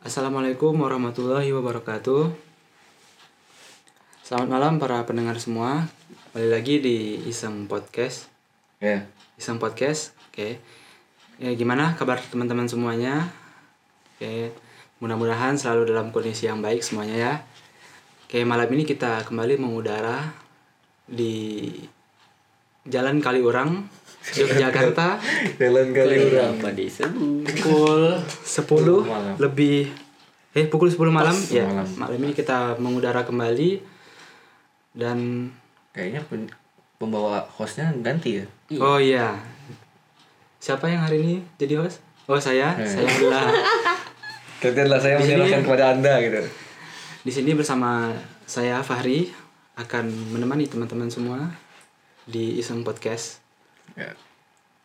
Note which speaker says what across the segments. Speaker 1: Assalamualaikum warahmatullahi wabarakatuh. Selamat malam para pendengar semua. Kembali lagi di Iseng Podcast.
Speaker 2: Ya,
Speaker 1: Iseng Podcast. Oke. Ya, gimana kabar teman-teman semuanya? Oke. Mudah-mudahan selalu dalam kondisi yang baik semuanya ya. Oke, malam ini kita kembali mengudara di Jalan Kaliurang, Yogyakarta.
Speaker 2: jalan kali orang.
Speaker 3: Kenapa disebut?
Speaker 1: pukul 10
Speaker 2: Malam.
Speaker 1: lebih eh pukul 10 malam ya
Speaker 2: malam.
Speaker 1: malam ini kita mengudara kembali dan
Speaker 2: Kayaknya pen- pembawa hostnya ganti ya.
Speaker 1: oh iya siapa yang hari ini jadi host oh saya
Speaker 2: Eh.
Speaker 1: saya Abdullah
Speaker 2: Gantianlah saya
Speaker 3: kan
Speaker 2: menyerahkan kepada anda gitu.
Speaker 1: di sini bersama saya Fahri akan menemani teman-teman semua di Iseng Podcast
Speaker 2: Ya,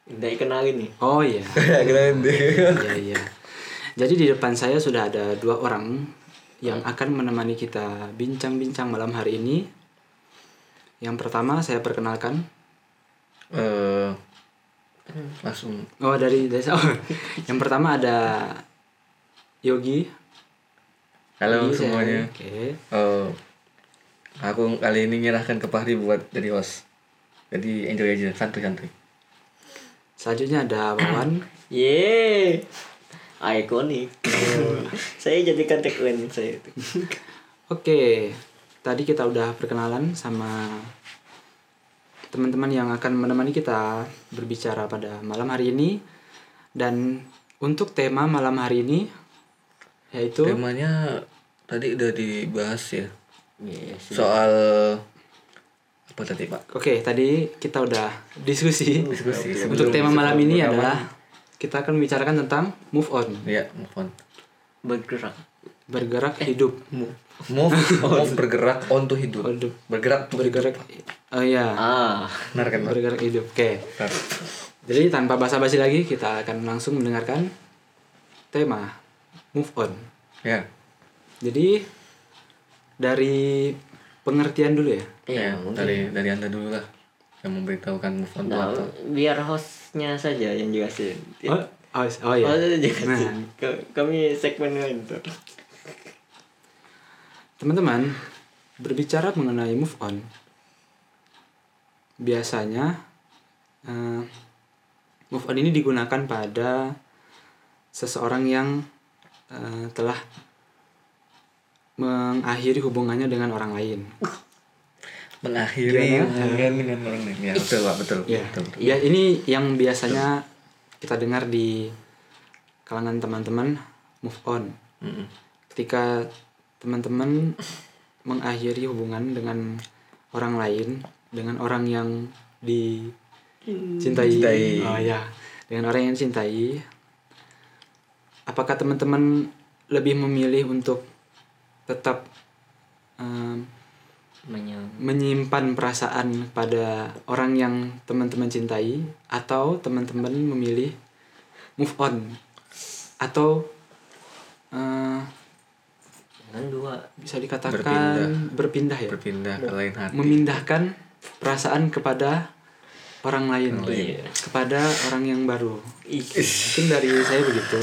Speaker 3: Udah dikenalin nih.
Speaker 1: oh iya
Speaker 2: ganti.
Speaker 1: Iya iya. Jadi di depan saya sudah ada dua orang yang
Speaker 2: Hmm.
Speaker 1: akan menemani kita bincang-bincang malam hari ini. Yang pertama saya perkenalkan.
Speaker 2: Eh, langsung
Speaker 1: Oh dari dari oh. yang pertama ada Yogi.
Speaker 2: halo
Speaker 1: Yogi, saya-
Speaker 2: semuanya.
Speaker 1: Oke.
Speaker 2: Eh, aku kali ini nyerahkan ke Fahri buat jadi host. Jadi enjoy aja, santuy-santuy.
Speaker 1: Selanjutnya ada Wawan.
Speaker 3: Yeay. Ikonik. saya jadikan tagline saya itu.
Speaker 1: Oke. Tadi kita udah perkenalan sama teman-teman yang akan menemani kita berbicara pada malam hari ini dan untuk tema malam hari ini yaitu
Speaker 2: Temanya tadi udah dibahas ya.
Speaker 3: Yes.
Speaker 2: Soal apa tadi Pak?
Speaker 1: Oke, tadi kita udah diskusi.
Speaker 2: Hmm, Diskusi
Speaker 1: Untuk
Speaker 2: sebelum-
Speaker 1: tema malam
Speaker 2: sebelum
Speaker 1: ini
Speaker 2: rekaman.
Speaker 1: adalah kita akan membicarakan tentang move on,
Speaker 2: Iya, move on.
Speaker 3: Bergerak.
Speaker 1: bergerak hidup,
Speaker 2: Move, move bergerak on to hidup.
Speaker 1: Hidup.
Speaker 2: Bergerak to
Speaker 1: bergerak. Oh iya,
Speaker 3: Ah.
Speaker 2: Benar kan? Pak?
Speaker 1: bergerak hidup. Oke.
Speaker 2: Benar.
Speaker 1: Jadi tanpa basa-basi lagi kita akan langsung mendengarkan tema move on.
Speaker 2: Ya.
Speaker 1: Jadi dari pengertian dulu ya.
Speaker 3: Iya,
Speaker 2: Ya, dari dari Anda dulu lah yang memberitahukan move on itu
Speaker 3: Nah,
Speaker 2: apa.
Speaker 3: biar hostnya saja yang jelasin.
Speaker 1: Oh, oh, oh
Speaker 3: Oh,
Speaker 1: iya.
Speaker 3: saya jelasin. Ke- Kami segmen lain tuh.
Speaker 1: Teman-teman, berbicara mengenai move on, biasanya eh, move on ini digunakan pada seseorang yang eh, telah mengakhiri hubungannya dengan orang lain.
Speaker 2: Mengakhiri hubungan dengan orang lain. Ya, betul Pak, betul.
Speaker 1: Ya,
Speaker 2: betul, betul.
Speaker 1: ya ini yang biasanya kita dengar di kalangan teman-teman move on.
Speaker 2: Mm-mm.
Speaker 1: ketika teman-teman mengakhiri hubungan dengan orang lain dengan orang yang dicintai
Speaker 2: Cintai.
Speaker 1: Oh, ya dengan orang yang cintai apakah teman-teman lebih memilih untuk tetap em, menyimpan perasaan pada orang yang teman-teman cintai atau teman-teman memilih move on atau eh,
Speaker 3: Kan dua.
Speaker 1: bisa dikatakan
Speaker 2: Berpindah.
Speaker 1: berpindah, ya
Speaker 2: Berpindah ke lain hati.
Speaker 1: memindahkan perasaan kepada orang lain
Speaker 3: Iya.
Speaker 1: kepada orang yang baru
Speaker 3: Ih.
Speaker 1: mungkin dari saya begitu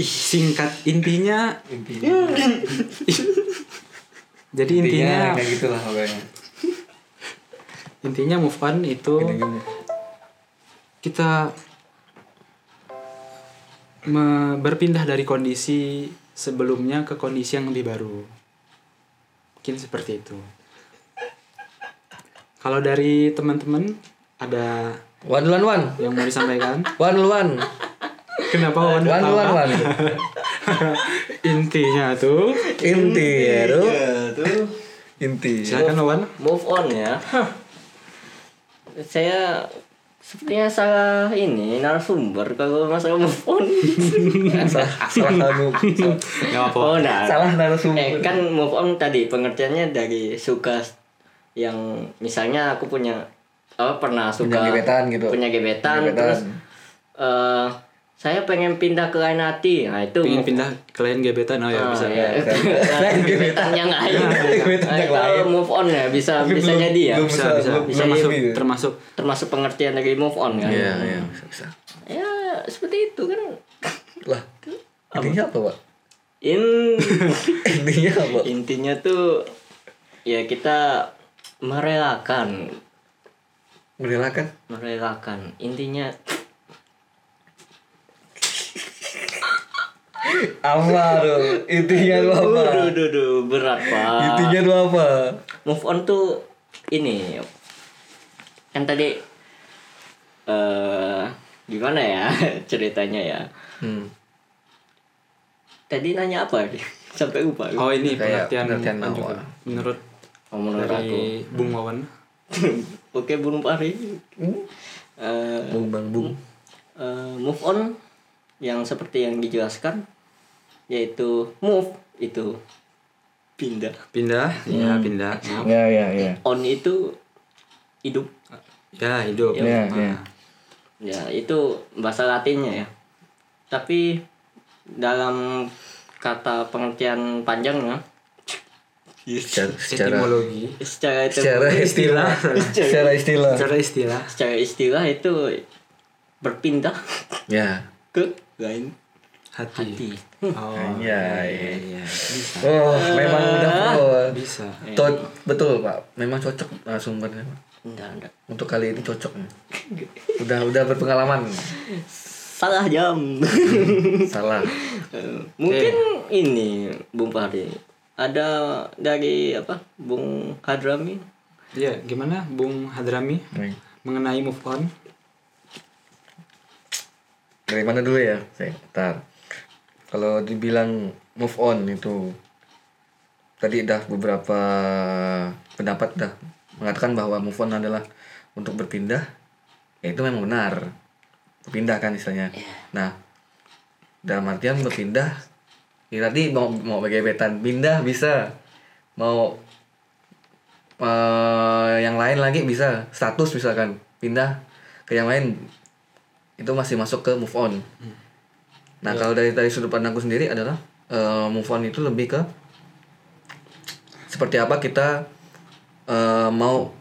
Speaker 1: singkat intinya
Speaker 2: Intinya,
Speaker 1: jadi intinya
Speaker 2: kayak gitulah pokoknya.
Speaker 1: intinya move on itu
Speaker 2: Intinya move-
Speaker 1: kita me- berpindah dari kondisi sebelumnya ke kondisi yang lebih baru. Mungkin seperti itu. Kalau dari teman-teman ada
Speaker 2: One one one.
Speaker 1: yang mau disampaikan?
Speaker 2: One one.
Speaker 1: Kenapa Wan
Speaker 2: One
Speaker 1: ketawa?
Speaker 2: one one.
Speaker 1: Intinya tuh.
Speaker 2: Inti ya, Ru.
Speaker 3: tuh.
Speaker 2: Inti.
Speaker 1: Silakan Wan.
Speaker 3: move on ya saya sepertinya salah ini narasumber kalau masalah move on
Speaker 2: Salah salah anu.
Speaker 1: Enggak apa-apa.
Speaker 3: oh nah
Speaker 2: Salah
Speaker 3: eh
Speaker 2: narasumber.
Speaker 3: kan move on tadi pengertiannya dari suka yang misalnya aku punya apa pernah suka
Speaker 2: Punya gebetan gitu.
Speaker 3: punya gebetan,
Speaker 2: Gebetan.
Speaker 3: terus eh, saya pengen pindah ke lain hati nah itu
Speaker 1: Pengen
Speaker 3: move
Speaker 1: pindah ke lain gebetan oh ya
Speaker 3: Ah,
Speaker 1: bisa.
Speaker 3: ya. gebetan yang lain
Speaker 2: Gebetan yang
Speaker 3: Nah, itu
Speaker 2: lain.
Speaker 3: move on ya bisa bisa
Speaker 2: Belum-
Speaker 3: jadi ya
Speaker 2: belum
Speaker 1: Bisa
Speaker 2: Bisa,
Speaker 1: bisa.
Speaker 2: belum- belum
Speaker 1: termasuk
Speaker 2: ini.
Speaker 1: termasuk
Speaker 3: termasuk pengertian dari move on kan
Speaker 2: Iya, iya, bisa bisa.
Speaker 3: ya seperti itu kan
Speaker 2: Lah. Intinya apa, Pak?
Speaker 3: in
Speaker 2: Intinya apa?
Speaker 3: intinya tuh ya kita merelakan
Speaker 2: Merelakan.
Speaker 3: merelakan intinya
Speaker 2: Apa tuh? Intinya tuh apa?
Speaker 3: duh, duh, duh, berat
Speaker 1: Gitu.
Speaker 3: pak
Speaker 2: Intinya tuh apa?
Speaker 3: move on tuh ini kan tadi eh gimana ya ceritanya ya
Speaker 2: Hmm.
Speaker 3: tadi nanya apa sampai lupa
Speaker 1: Oh ini
Speaker 2: Kayak
Speaker 1: pengertian,
Speaker 2: pengertian
Speaker 1: Wawan juga.
Speaker 2: Wawan.
Speaker 1: menurut
Speaker 3: Oh, menurut aku
Speaker 1: dari Bung Wawan.
Speaker 3: oke Bung Pari
Speaker 1: Hmm?
Speaker 3: Eh,
Speaker 2: Bung bang bung.
Speaker 3: eh, move on yang seperti yang dijelaskan yaitu move itu pindah
Speaker 1: Pindah,
Speaker 2: Hmm.
Speaker 1: ya pindah. Maaf.
Speaker 2: Ya ya ya.
Speaker 3: on itu hidup
Speaker 1: Ya hidup. Ah.
Speaker 2: Ya, ya.
Speaker 3: ya itu bahasa latinnya ya tapi dalam kata pengertian ya, panjangnya
Speaker 2: Iya, Secara secara
Speaker 1: Etimologi.
Speaker 3: secara itu-
Speaker 2: secara istilah, secara istilah.
Speaker 1: Secara istilah.
Speaker 3: secara istilah itu berpindah
Speaker 2: Ya.
Speaker 3: ke lain
Speaker 1: Hati.
Speaker 3: hati
Speaker 1: Oh.
Speaker 2: Ya,
Speaker 1: iya, iya.
Speaker 2: Oh, memang udah pro.
Speaker 1: Bisa.
Speaker 2: To- betul pak, memang cocok uh, sumbernya Pak.
Speaker 3: enggak enggak
Speaker 2: untuk kali ini cocok. Udah udah berpengalaman.
Speaker 3: salah jam
Speaker 2: Salah.
Speaker 3: Eh, mungkin
Speaker 2: Eh.
Speaker 3: ini Bung Fahri ada dari apa Bung Hadrami
Speaker 1: Ya gimana Bung Hadrami
Speaker 2: Nih,
Speaker 1: mengenai move on?
Speaker 2: Dari mana dulu ya? Saya tar. Kalau dibilang move on itu tadi dah beberapa pendapat dah mengatakan bahwa move on adalah untuk berpindah. Ya, itu memang benar. Berpindah kan istilahnya. Nah, dalam artian berpindah ya tadi mau mau begebetan pindah bisa mau eh, yang lain lagi bisa status misalkan pindah ke yang lain itu masih masuk ke move on nah kalau dari dari sudut pandangku sendiri adalah eh, move on itu lebih ke seperti apa kita eh, mau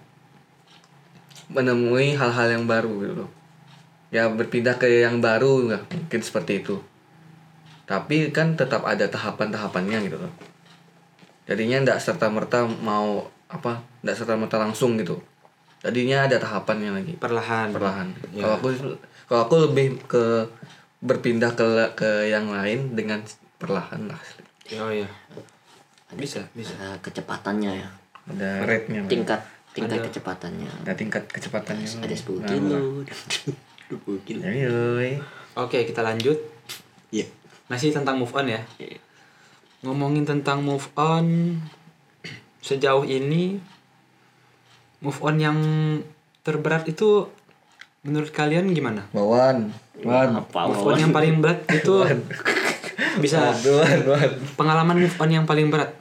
Speaker 2: menemui hal-hal yang baru gitu loh ya berpindah ke yang baru nggak mungkin seperti itu tapi kan tetap ada tahapan-tahapannya gitu loh jadinya ndak serta merta mau apa ndak serta merta langsung gitu jadinya ada tahapannya lagi
Speaker 1: Perlahan.
Speaker 2: perlahan
Speaker 1: Ya.
Speaker 2: kalau aku kalau aku lebih ke berpindah ke ke yang lain dengan perlahan lah
Speaker 1: Ya, oh ya. Bisa, bisa.
Speaker 3: Eh, kecepatannya ya
Speaker 2: ada rate-nya Pak.
Speaker 3: tingkat tingkat kecepatannya
Speaker 2: ada tingkat kecepatannya Nah,
Speaker 3: ada 10 kilo 20 kilo
Speaker 2: Ya, yoi.
Speaker 1: Oke, kita lanjut.
Speaker 3: iya
Speaker 1: Masih tentang move on ya.
Speaker 2: Iya.
Speaker 1: Ngomongin tentang move on sejauh ini move on yang terberat itu menurut kalian gimana?
Speaker 2: Wawan Wawan
Speaker 3: apa
Speaker 1: Move
Speaker 3: Wawan?
Speaker 1: on yang paling berat itu bisa
Speaker 2: Wawan Wawan
Speaker 1: pengalaman move on yang paling berat.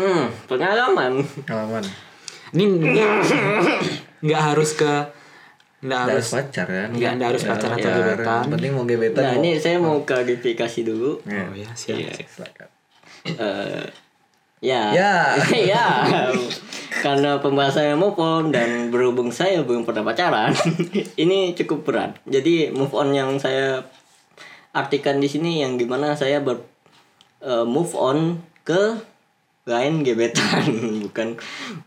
Speaker 3: hmm, pengalaman
Speaker 2: Wawan
Speaker 1: Ini nggak- nggak harus ke nggak
Speaker 2: Nggak
Speaker 1: harus
Speaker 2: harus pacar kan
Speaker 1: nggak nggak harus pacar atau
Speaker 2: Ya,
Speaker 1: gebetan.
Speaker 2: yang penting mau gebetan
Speaker 3: nah
Speaker 2: mau-
Speaker 3: ini saya mau klarifikasi dulu
Speaker 2: Ya.
Speaker 1: Oh ya, siap.
Speaker 2: Silakan.
Speaker 3: Eh, ya
Speaker 2: Ya.
Speaker 3: ya karena pembahasannya move on dan berhubung saya belum pernah pacaran ini cukup berat jadi move on yang saya artikan di sini yang gimana saya ber eh, move on ke lain gebetan bukan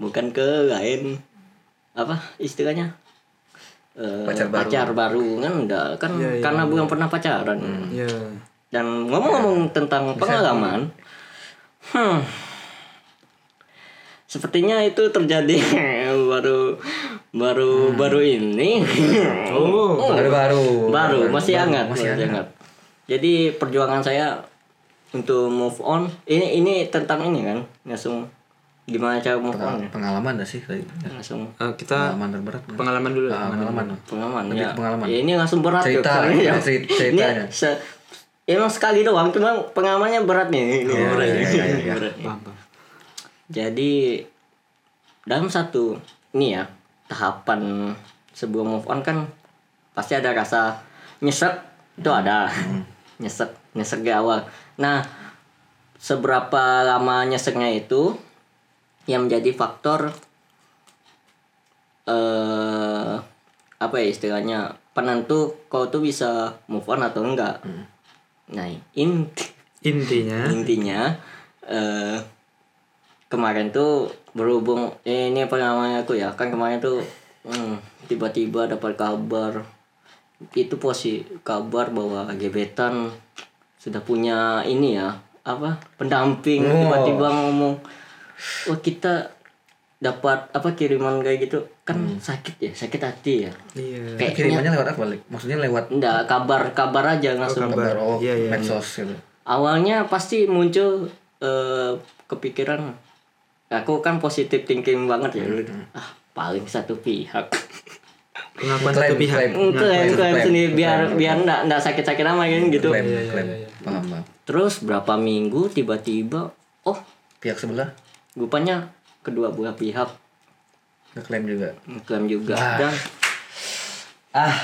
Speaker 3: bukan ke lain apa istilahnya Eh,
Speaker 2: Pacar baru.
Speaker 3: baru. kan enggak kan
Speaker 1: Iya, iya,
Speaker 3: karena belum pernah pacaran
Speaker 1: Ya.
Speaker 3: dan ngomong-ngomong tentang pengalaman, hmm, sepertinya itu terjadi baru baru baru ini.
Speaker 1: Oh,
Speaker 2: Hmm. Baru baru
Speaker 3: baru, masih
Speaker 2: baru,
Speaker 3: hangat,
Speaker 2: masih
Speaker 3: masih
Speaker 2: hangat.
Speaker 3: hangat. Jadi perjuangan saya untuk move on ini ini tentang ini kan langsung gimana cara move on ya?
Speaker 2: pengalaman dah sih tadi
Speaker 3: langsung
Speaker 1: eh, kita
Speaker 2: pengalaman terberat
Speaker 1: pengalaman dulu.
Speaker 2: Ah, pengalaman
Speaker 3: pengalaman
Speaker 2: Lebih
Speaker 3: ya.
Speaker 2: ke pengalaman.
Speaker 3: Ya, ini langsung berat ya,
Speaker 2: Cerita,
Speaker 3: karena
Speaker 2: ya,
Speaker 3: ya.
Speaker 2: cerit- ceritanya.
Speaker 3: Ini se- emang sekali doang cuma pengalamannya berat nih ini
Speaker 2: Iya,
Speaker 3: berat
Speaker 2: iya,
Speaker 3: nih.
Speaker 2: iya, iya, iya.
Speaker 3: Berat nih.
Speaker 1: Paham, paham.
Speaker 3: jadi dalam satu ini ya tahapan sebelum move on kan pasti ada rasa nyesek itu ada nyesek nyesek di awal nah seberapa lama nyeseknya itu yang menjadi faktor eh apa ya istilahnya penentu kau tuh bisa move on atau enggak nah in
Speaker 1: Intinya,
Speaker 3: intinya eh kemarin tuh berhubung eh, ini pengalaman aku ya kan kemarin tuh hmm, tiba-tiba dapat kabar itu posisi kabar bahwa gebetan sudah punya ini ya apa pendamping
Speaker 2: Oh.
Speaker 3: tiba-tiba ngomong wah kita dapat apa kiriman kayak gitu kan
Speaker 2: Hmm.
Speaker 3: sakit ya sakit hati ya
Speaker 1: iya.
Speaker 3: kayak
Speaker 2: Kirimannya lewat apa? Lik? Maksudnya lewat
Speaker 3: enggak kabar kabar aja langsung
Speaker 2: kabar oh
Speaker 1: Iya, iya,
Speaker 2: medsos gitu.
Speaker 3: awalnya pasti muncul eh, kepikiran aku kan positif thinking banget ya ah paling satu pihak
Speaker 1: Pengakuan
Speaker 2: Klaim,
Speaker 1: satu pihak.
Speaker 2: klaim.
Speaker 3: klaim klaim
Speaker 2: klaim,
Speaker 3: sendiri biar
Speaker 2: klaim.
Speaker 3: biar ndak ndak sakit sakit amat kan gitu
Speaker 2: Klaim,
Speaker 1: Iya, iya,
Speaker 2: klaim.
Speaker 1: iya.
Speaker 2: Paham, paham.
Speaker 3: terus berapa minggu tiba-tiba oh
Speaker 2: Pihak sebelah
Speaker 3: rupanya kedua belah pihak
Speaker 2: ngeklaim juga.
Speaker 3: klaim juga dan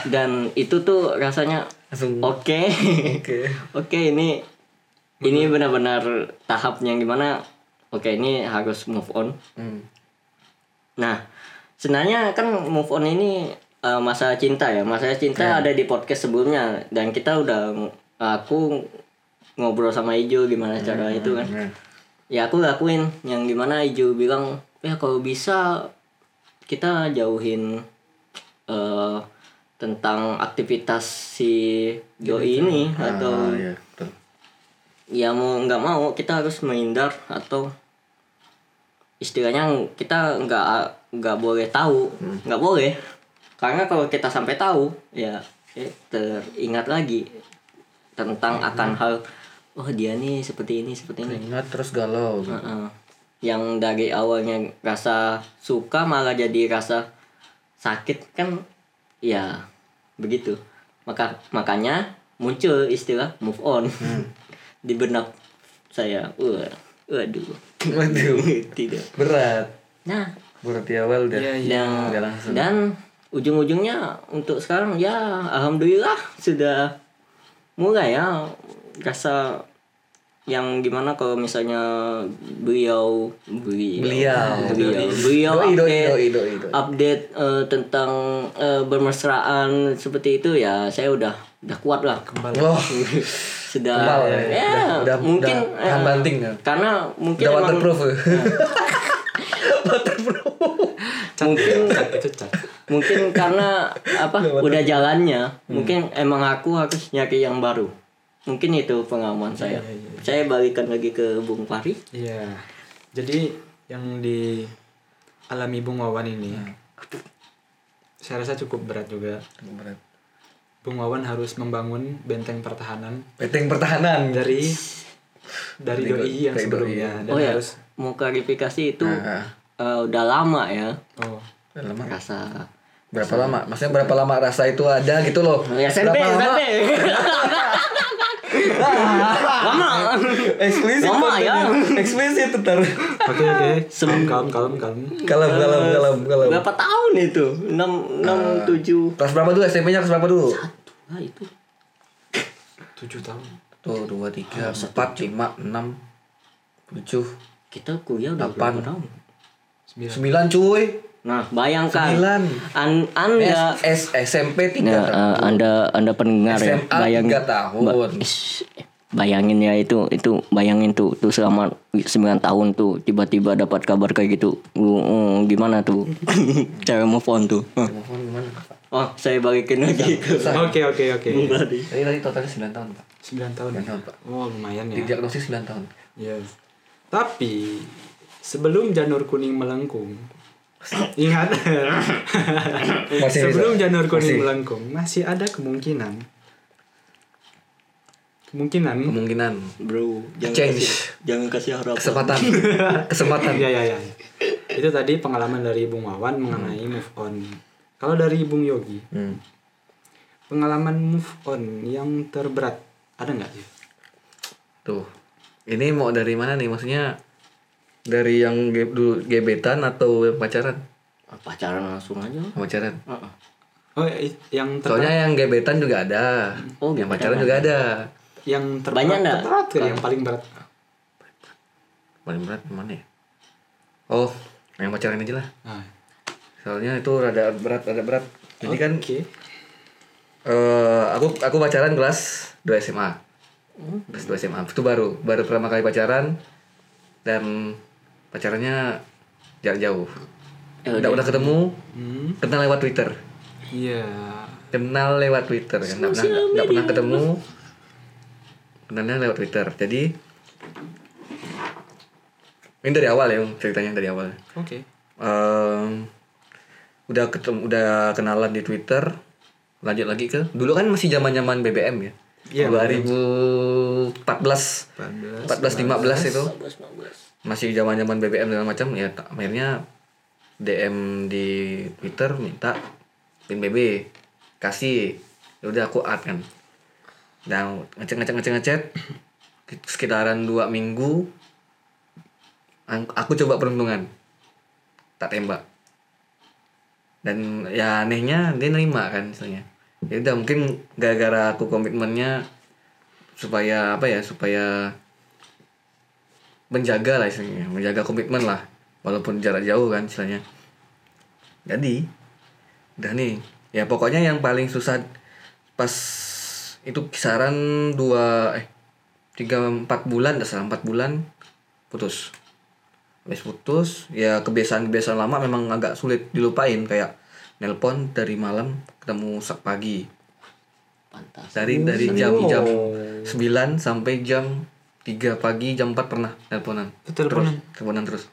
Speaker 3: dan itu tuh rasanya
Speaker 2: Langsung
Speaker 3: oke
Speaker 2: Oke.
Speaker 3: Oke ini ini benar-benar tahapnya gimana? Oke ini harus move on.
Speaker 2: Hmm.
Speaker 3: Nah sebenarnya kan move on ini eh, masalah cinta ya. Masalah cinta ada di podcast sebelumnya dan kita udah aku ngobrol sama Ijo gimana cara itu kan.
Speaker 2: Nah,
Speaker 3: Ya aku lakuin yang gimana Ijo bilang ya kalau bisa kita jauhin eh, tentang aktivitas si doi ini
Speaker 2: ah,
Speaker 3: atau
Speaker 2: iya, betul.
Speaker 3: ya mau nggak mau kita harus menghindar atau istilahnya kita nggak nggak boleh tahu nggak boleh karena kalau kita sampai tahu ya eh, teringat lagi tentang akan hal oh dia nih seperti ini seperti ini
Speaker 2: Ingat terus
Speaker 1: Ah.
Speaker 2: galau. gitu.
Speaker 3: Heeh. yang dari awalnya rasa suka malah jadi rasa sakit kan ya begitu maka makanya muncul istilah move on di benak saya Wah, waduh
Speaker 2: Waduh,
Speaker 3: tidak
Speaker 2: berat.
Speaker 3: nah
Speaker 2: Berat di awal udah.
Speaker 1: Iya, iya.
Speaker 3: dan
Speaker 2: Udah langsung.
Speaker 3: dan ujung-ujungnya untuk sekarang ya alhamdulillah sudah mulai ya rasa yang gimana kalau misalnya beliau beliau
Speaker 2: Beliau.
Speaker 3: beliau, beliau
Speaker 2: Doi, doi,
Speaker 3: update-
Speaker 2: doi, doi, doi.
Speaker 3: update eh, tentang eh, bermesraan seperti itu ya saya udah udah kuat lah
Speaker 2: Wah,
Speaker 3: sudah
Speaker 2: kebal ya.
Speaker 3: ya,
Speaker 2: Udah- udah-
Speaker 3: mungkin
Speaker 2: udah
Speaker 3: eh,
Speaker 2: tahan banting ya.
Speaker 3: karena mungkin
Speaker 2: udah
Speaker 3: emang-
Speaker 2: waterproof. ya.
Speaker 1: Cat,
Speaker 3: Mungkin-
Speaker 1: cat, itu cat.
Speaker 3: mungkin karena apa udah jalannya mungkin emang aku harus nyari yang baru mungkin itu pengalaman saya saya balikan lagi ke Bung Fahri
Speaker 1: Iya. Jadi yang di alami Bung Wawan ini, saya rasa cukup berat juga.
Speaker 2: Berat.
Speaker 1: Bung Wawan harus membangun benteng pertahanan
Speaker 2: Betting pertahanan.
Speaker 1: dari dari
Speaker 2: Dari
Speaker 1: doi yang
Speaker 2: doi,
Speaker 1: sebelumnya
Speaker 2: iya.
Speaker 1: dan
Speaker 3: oh ya
Speaker 1: harus
Speaker 3: mau klarifikasi itu
Speaker 2: Ah,
Speaker 3: eh, udah lama ya
Speaker 1: oh
Speaker 2: ah. Lama.
Speaker 3: rasa
Speaker 2: Berapa lama? Maksudnya berapa lama rasa itu ada gitu loh?
Speaker 3: ya SMP
Speaker 2: berapa lama?
Speaker 3: SMP lama
Speaker 2: Eksplisit.
Speaker 3: Lama
Speaker 2: kontennya.
Speaker 3: ya.
Speaker 2: Eksplisit ntar.
Speaker 1: oke oke kalem kalem kalem kalem
Speaker 2: Kalem, kalem, kalem, kalem.
Speaker 3: berapa tahun itu enam enam tujuh
Speaker 2: Kelas berapa dulu SMP-nya kelas berapa dulu?
Speaker 3: Nah, itu
Speaker 1: tujuh tahun
Speaker 2: Tuh, dua, tiga, empat, lima, enam, tujuh,
Speaker 3: kita kuliah udah
Speaker 2: Delapan.
Speaker 3: berapa tahun
Speaker 1: sembilan
Speaker 2: sembilan cuy.
Speaker 3: nah bayangkan
Speaker 2: Sembilan. Ya,
Speaker 3: an anda
Speaker 2: S, S- SMP tiga
Speaker 3: Ya, eh, anda anda pendengar ya,
Speaker 2: SMA
Speaker 3: bayangin
Speaker 2: tiga tahun.
Speaker 3: Ish, bayangin ya itu itu bayangin tuh tuh selama 9 tahun tuh tiba-tiba dapat kabar kayak gitu. Lu, mm, gimana tuh? Cara move on tuh. Hah.
Speaker 2: Mohon gimana? Pak?
Speaker 3: Oh, saya balikin lagi ke
Speaker 1: oke oke oke
Speaker 2: Tadi tadi totalnya sembilan tahun pak.
Speaker 1: sembilan tahun
Speaker 2: Sembilan tahun pak.
Speaker 1: oh lumayan ya
Speaker 2: Diagnosis sembilan tahun.
Speaker 1: Iya. Tapi sebelum janur kuning melengkung, ingat
Speaker 2: Masih
Speaker 1: sebelum
Speaker 2: bisa.
Speaker 1: janur kuning
Speaker 2: Masih.
Speaker 1: melengkung masih ada kemungkinan kemungkinan
Speaker 2: Kemungkinan
Speaker 3: Bro, jangan
Speaker 2: Change.
Speaker 3: kasih, jangan kasih harapan.
Speaker 2: kesempatan kesempatan.
Speaker 1: ya ya ya itu tadi pengalaman dari Bung Wawan mengenai move on. Kalau dari Bung Yogi
Speaker 2: Hmm.
Speaker 1: pengalaman move on yang terberat ada nggak sih?
Speaker 2: Tuh. Ini mau dari mana nih? Maksudnya dari yang ge- dulu gebetan atau yang pacaran?
Speaker 3: Ah, Pacaran langsung aja. Ah,
Speaker 2: Pacaran.
Speaker 3: Heeh.
Speaker 1: Oh i- yang ter
Speaker 2: Soalnya yang gebetan juga ada.
Speaker 3: Oh,
Speaker 2: yang
Speaker 3: gebetan
Speaker 2: pacaran juga ada.
Speaker 1: yang terberat
Speaker 3: Banyak nggak?
Speaker 1: terberat nggak? yang paling berat
Speaker 2: Paling berat mana ya? Oh, yang pacaran aja lah.
Speaker 1: nah,
Speaker 2: Soalnya itu rada berat, rada berat. Jadi kan
Speaker 1: oke.
Speaker 2: eh aku aku pacaran kelas 2 SMA.
Speaker 1: Hmm.
Speaker 2: Pas dua SMA itu baru baru pertama kali pacaran dan pacarannya jarak jauh.
Speaker 3: Ya
Speaker 2: Udah,
Speaker 3: udah.
Speaker 2: udah ketemu,
Speaker 1: Eh, Hmm.
Speaker 2: kenal lewat Twitter.
Speaker 1: Iya.
Speaker 2: Kenal lewat Twitter kan. Enggak pernah nggak pernah ketemu. Kenalnya lewat Twitter. Jadi ini dari awal ya, Yung, ceritanya dari awal.
Speaker 1: Oke.
Speaker 2: Em, udah ketemu udah kenalan di Twitter lanjut lagi ke dulu kan masih zaman zaman BBM ya
Speaker 1: Iya,
Speaker 2: 2014
Speaker 1: Pada
Speaker 2: 14 15 itu
Speaker 3: 19.
Speaker 2: masih zaman zaman BBM dan macam ya tak- akhirnya DM di Twitter minta pin BB kasih ya udah aku add kan dan ngecek ngecek ngecek ngecek sekitaran dua minggu ang- aku coba peruntungan tak tembak dan ya anehnya dia nerima kan misalnya ya udah mungkin gara-gara aku komitmennya supaya apa ya supaya menjaga lah istilahnya menjaga komitmen lah walaupun jarak jauh kan istilahnya jadi udah nih ya pokoknya yang paling susah pas itu kisaran dua eh tiga empat bulan nggak salah empat bulan putus habis putus ya kebiasaan kebiasaan lama memang agak sulit dilupain kayak nelpon dari malam ketemu sak pagi
Speaker 3: Pantas.
Speaker 2: dari dari jam jam 9 sampai jam 3 pagi jam 4 pernah teleponan
Speaker 1: Itu teleponan.
Speaker 2: terus teleponan terus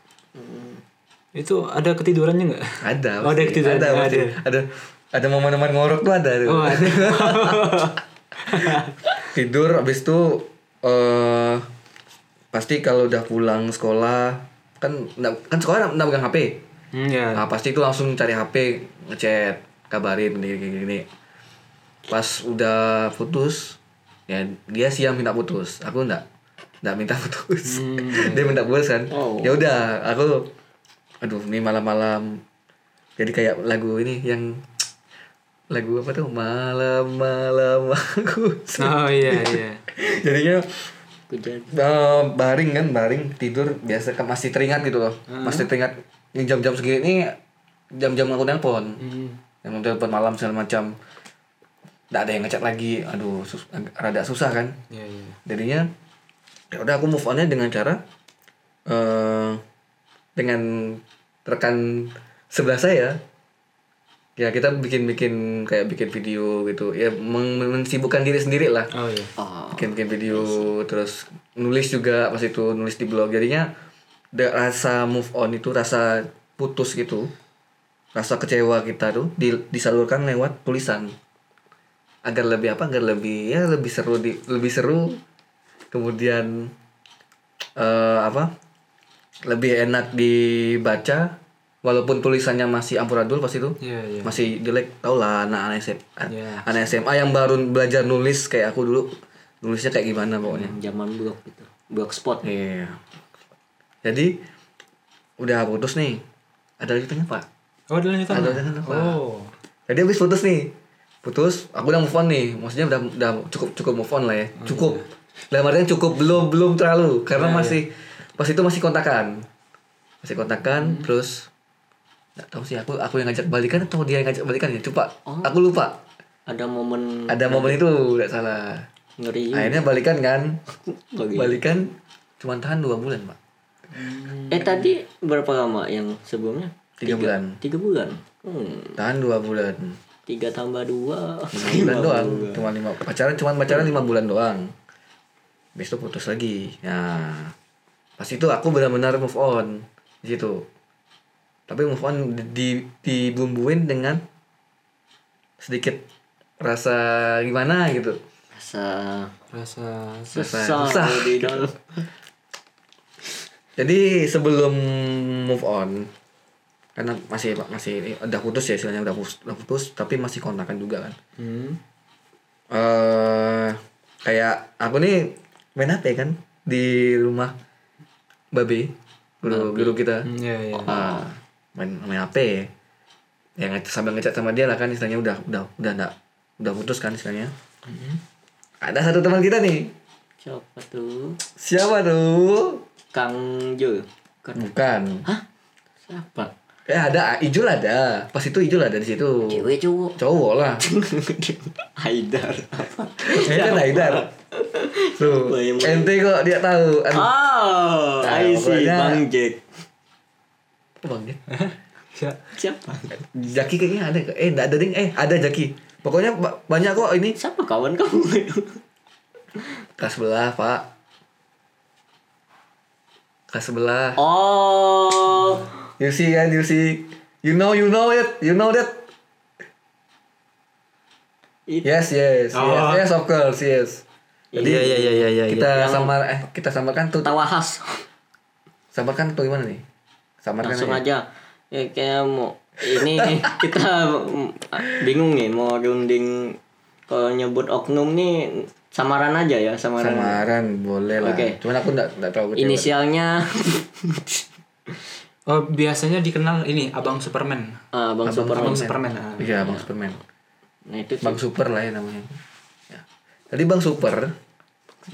Speaker 1: Itu ada ketidurannya nggak?
Speaker 2: ada
Speaker 1: Oh, ada
Speaker 2: pasti.
Speaker 1: ketiduran.
Speaker 2: ada pasti.
Speaker 1: Ada.
Speaker 2: ada ada momen-momen ngorok tuh ada tuh.
Speaker 1: Oh, ada.
Speaker 2: tidur abis itu eh pasti kalau udah pulang sekolah kan nggak- kan sekolah nggak pegang HP
Speaker 1: Hmm, ya.
Speaker 2: Nah, pasti itu langsung cari HP, ngechat, kabarin gini gini, gini. Pas udah putus, ya dia siang minta putus, aku enggak enggak minta putus. dia minta putus kan.
Speaker 3: Oh.
Speaker 2: Ya udah, aku aduh ini malam-malam jadi kayak lagu ini yang lagu apa tuh malam-malam aku
Speaker 1: Oh iya iya.
Speaker 2: jadinya
Speaker 3: Ku jadi.
Speaker 2: Eh, baring kan baring tidur biasa kan masih teringat gitu loh masih teringat ini jam-jam segini ini jam-jam aku nelpon
Speaker 1: Hmm.
Speaker 2: yang telepon malam segala macam nggak ada yang ngechat lagi aduh sus ag- rada susah kan
Speaker 1: Iya iya.
Speaker 2: jadinya ya udah aku move onnya dengan cara eh dengan rekan sebelah saya ya kita bikin-bikin kayak bikin video gitu ya meng- mensibukkan diri sendiri lah
Speaker 1: Oh iya.
Speaker 3: Oh.
Speaker 2: gitu. bikin-bikin video terus nulis juga pas itu nulis di blog jadinya da- rasa move on itu rasa putus gitu rasa kecewa kita tuh di- disalurkan lewat tulisan agar lebih apa agar lebih ya lebih seru di lebih seru kemudian eh, apa lebih enak dibaca walaupun tulisannya masih amburadul pas itu
Speaker 1: Iya iya.
Speaker 2: masih jelek tau lah anak anak SMA,
Speaker 1: Iya.
Speaker 2: anak SMA yang baru belajar nulis kayak aku dulu nulisnya kayak gimana pokoknya
Speaker 3: Zaman blog gitu. Blog spot.
Speaker 2: iya jadi udah putus nih ada lanjutannya pak
Speaker 1: Oh ada lanjutan.
Speaker 2: Ada lanjutan apa?
Speaker 1: Oh.
Speaker 2: jadi habis putus nih putus aku udah move on nih maksudnya udah udah cukup cukup move on lah ya cukup dalam artian cukup belum belum terlalu karena masih pas itu masih kontakan masih kontakan terus nggak tahu sih aku aku yang ngajak balikan atau dia yang ngajak balikan ya coba aku lupa
Speaker 3: Ada momen
Speaker 2: ada momen itu nggak salah
Speaker 3: ngeri.
Speaker 2: akhirnya balikan kan
Speaker 3: Lagi.
Speaker 2: balikan cuman tahan dua bulan pak
Speaker 3: Eh tadi berapa lama yang sebelumnya?
Speaker 2: Tiga bulan.
Speaker 3: Tiga bulan. Hmm.
Speaker 2: tahan dua bulan
Speaker 3: Tiga tambah dua.
Speaker 2: Lima bulan doang cuma lima pacaran cuman pacaran lima bulan doang besok putus lagi nah pas itu aku benar-benar move on di situ tapi move on di- di dibumbuin dengan sedikit rasa gimana gitu
Speaker 3: Rasa
Speaker 1: Rasa
Speaker 3: susah,
Speaker 2: susah.
Speaker 3: di dalam.
Speaker 2: Jadi sebelum move on karena masih masih ini, udah putus ya istilahnya udah putus, udah putus tapi masih kontakan juga kan.
Speaker 1: Hmm.
Speaker 2: Eh kayak aku nih main HP kan di rumah Babe, guru guru kita.
Speaker 1: Hmm, Iya iya.
Speaker 2: Ah, main main HP. Ya nge- sambil ngechat sama dia lah kan istilahnya udah udah udah enggak udah putus kan istilahnya. Ada satu teman kita nih.
Speaker 3: Siapa tuh?
Speaker 2: Siapa tuh?
Speaker 3: Kang Jo. Kan-
Speaker 2: Bukan.
Speaker 3: Hah? Siapa?
Speaker 2: Eh ada Ijul ada. Pas itu Ijul ada di situ.
Speaker 3: Cewek cowok.
Speaker 2: Cowok lah.
Speaker 3: Haidar apa?
Speaker 2: Saya kan Haidar. Tuh,
Speaker 3: Apa yang-
Speaker 2: ente kok dia tahu.
Speaker 1: Ah.
Speaker 2: Aduh,
Speaker 3: Oh,
Speaker 2: Nah,
Speaker 3: I see,
Speaker 2: pokoknya-
Speaker 3: Bang Jack.
Speaker 2: apa bang dia?
Speaker 1: Ya.
Speaker 3: Siapa?
Speaker 2: Jaki kayaknya ada. Eh, enggak ada ding. Eh, ada Jaki. Pokoknya ba- banyak kok ini.
Speaker 3: Siapa kawan kamu?
Speaker 2: Kelas sebelah, Pak. Kelas sebelah.
Speaker 3: oh,
Speaker 2: You see kan, you see. You know, you know it. You know that.
Speaker 3: It-
Speaker 2: Yes, yes. Yes,
Speaker 1: Oh.
Speaker 2: yes, of course, yes. Jadi
Speaker 1: Iya iya iya iya iya.
Speaker 2: kita
Speaker 1: iya.
Speaker 2: samar eh kita samarkan tuh
Speaker 3: tawa khas.
Speaker 2: samarkan tuh gimana nih? Samarkan
Speaker 3: Langsung
Speaker 2: aja.
Speaker 3: aja. Ya, kayak mau ini nih, kita bingung nih mau runding kalau nyebut oknum nih samaran aja ya samaran.
Speaker 2: Samaran boleh lah.
Speaker 3: Oke.
Speaker 2: Cuman aku enggak enggak tahu kecewa.
Speaker 3: Inisialnya
Speaker 1: Oh, biasanya dikenal ini Abang Superman.
Speaker 3: ah, Bang Superman.
Speaker 1: Abang Superman. ah.
Speaker 2: Iya, Bang Superman.
Speaker 3: Nah, itu
Speaker 2: Bang Super lah ya namanya. Ya. Tadi Bang Super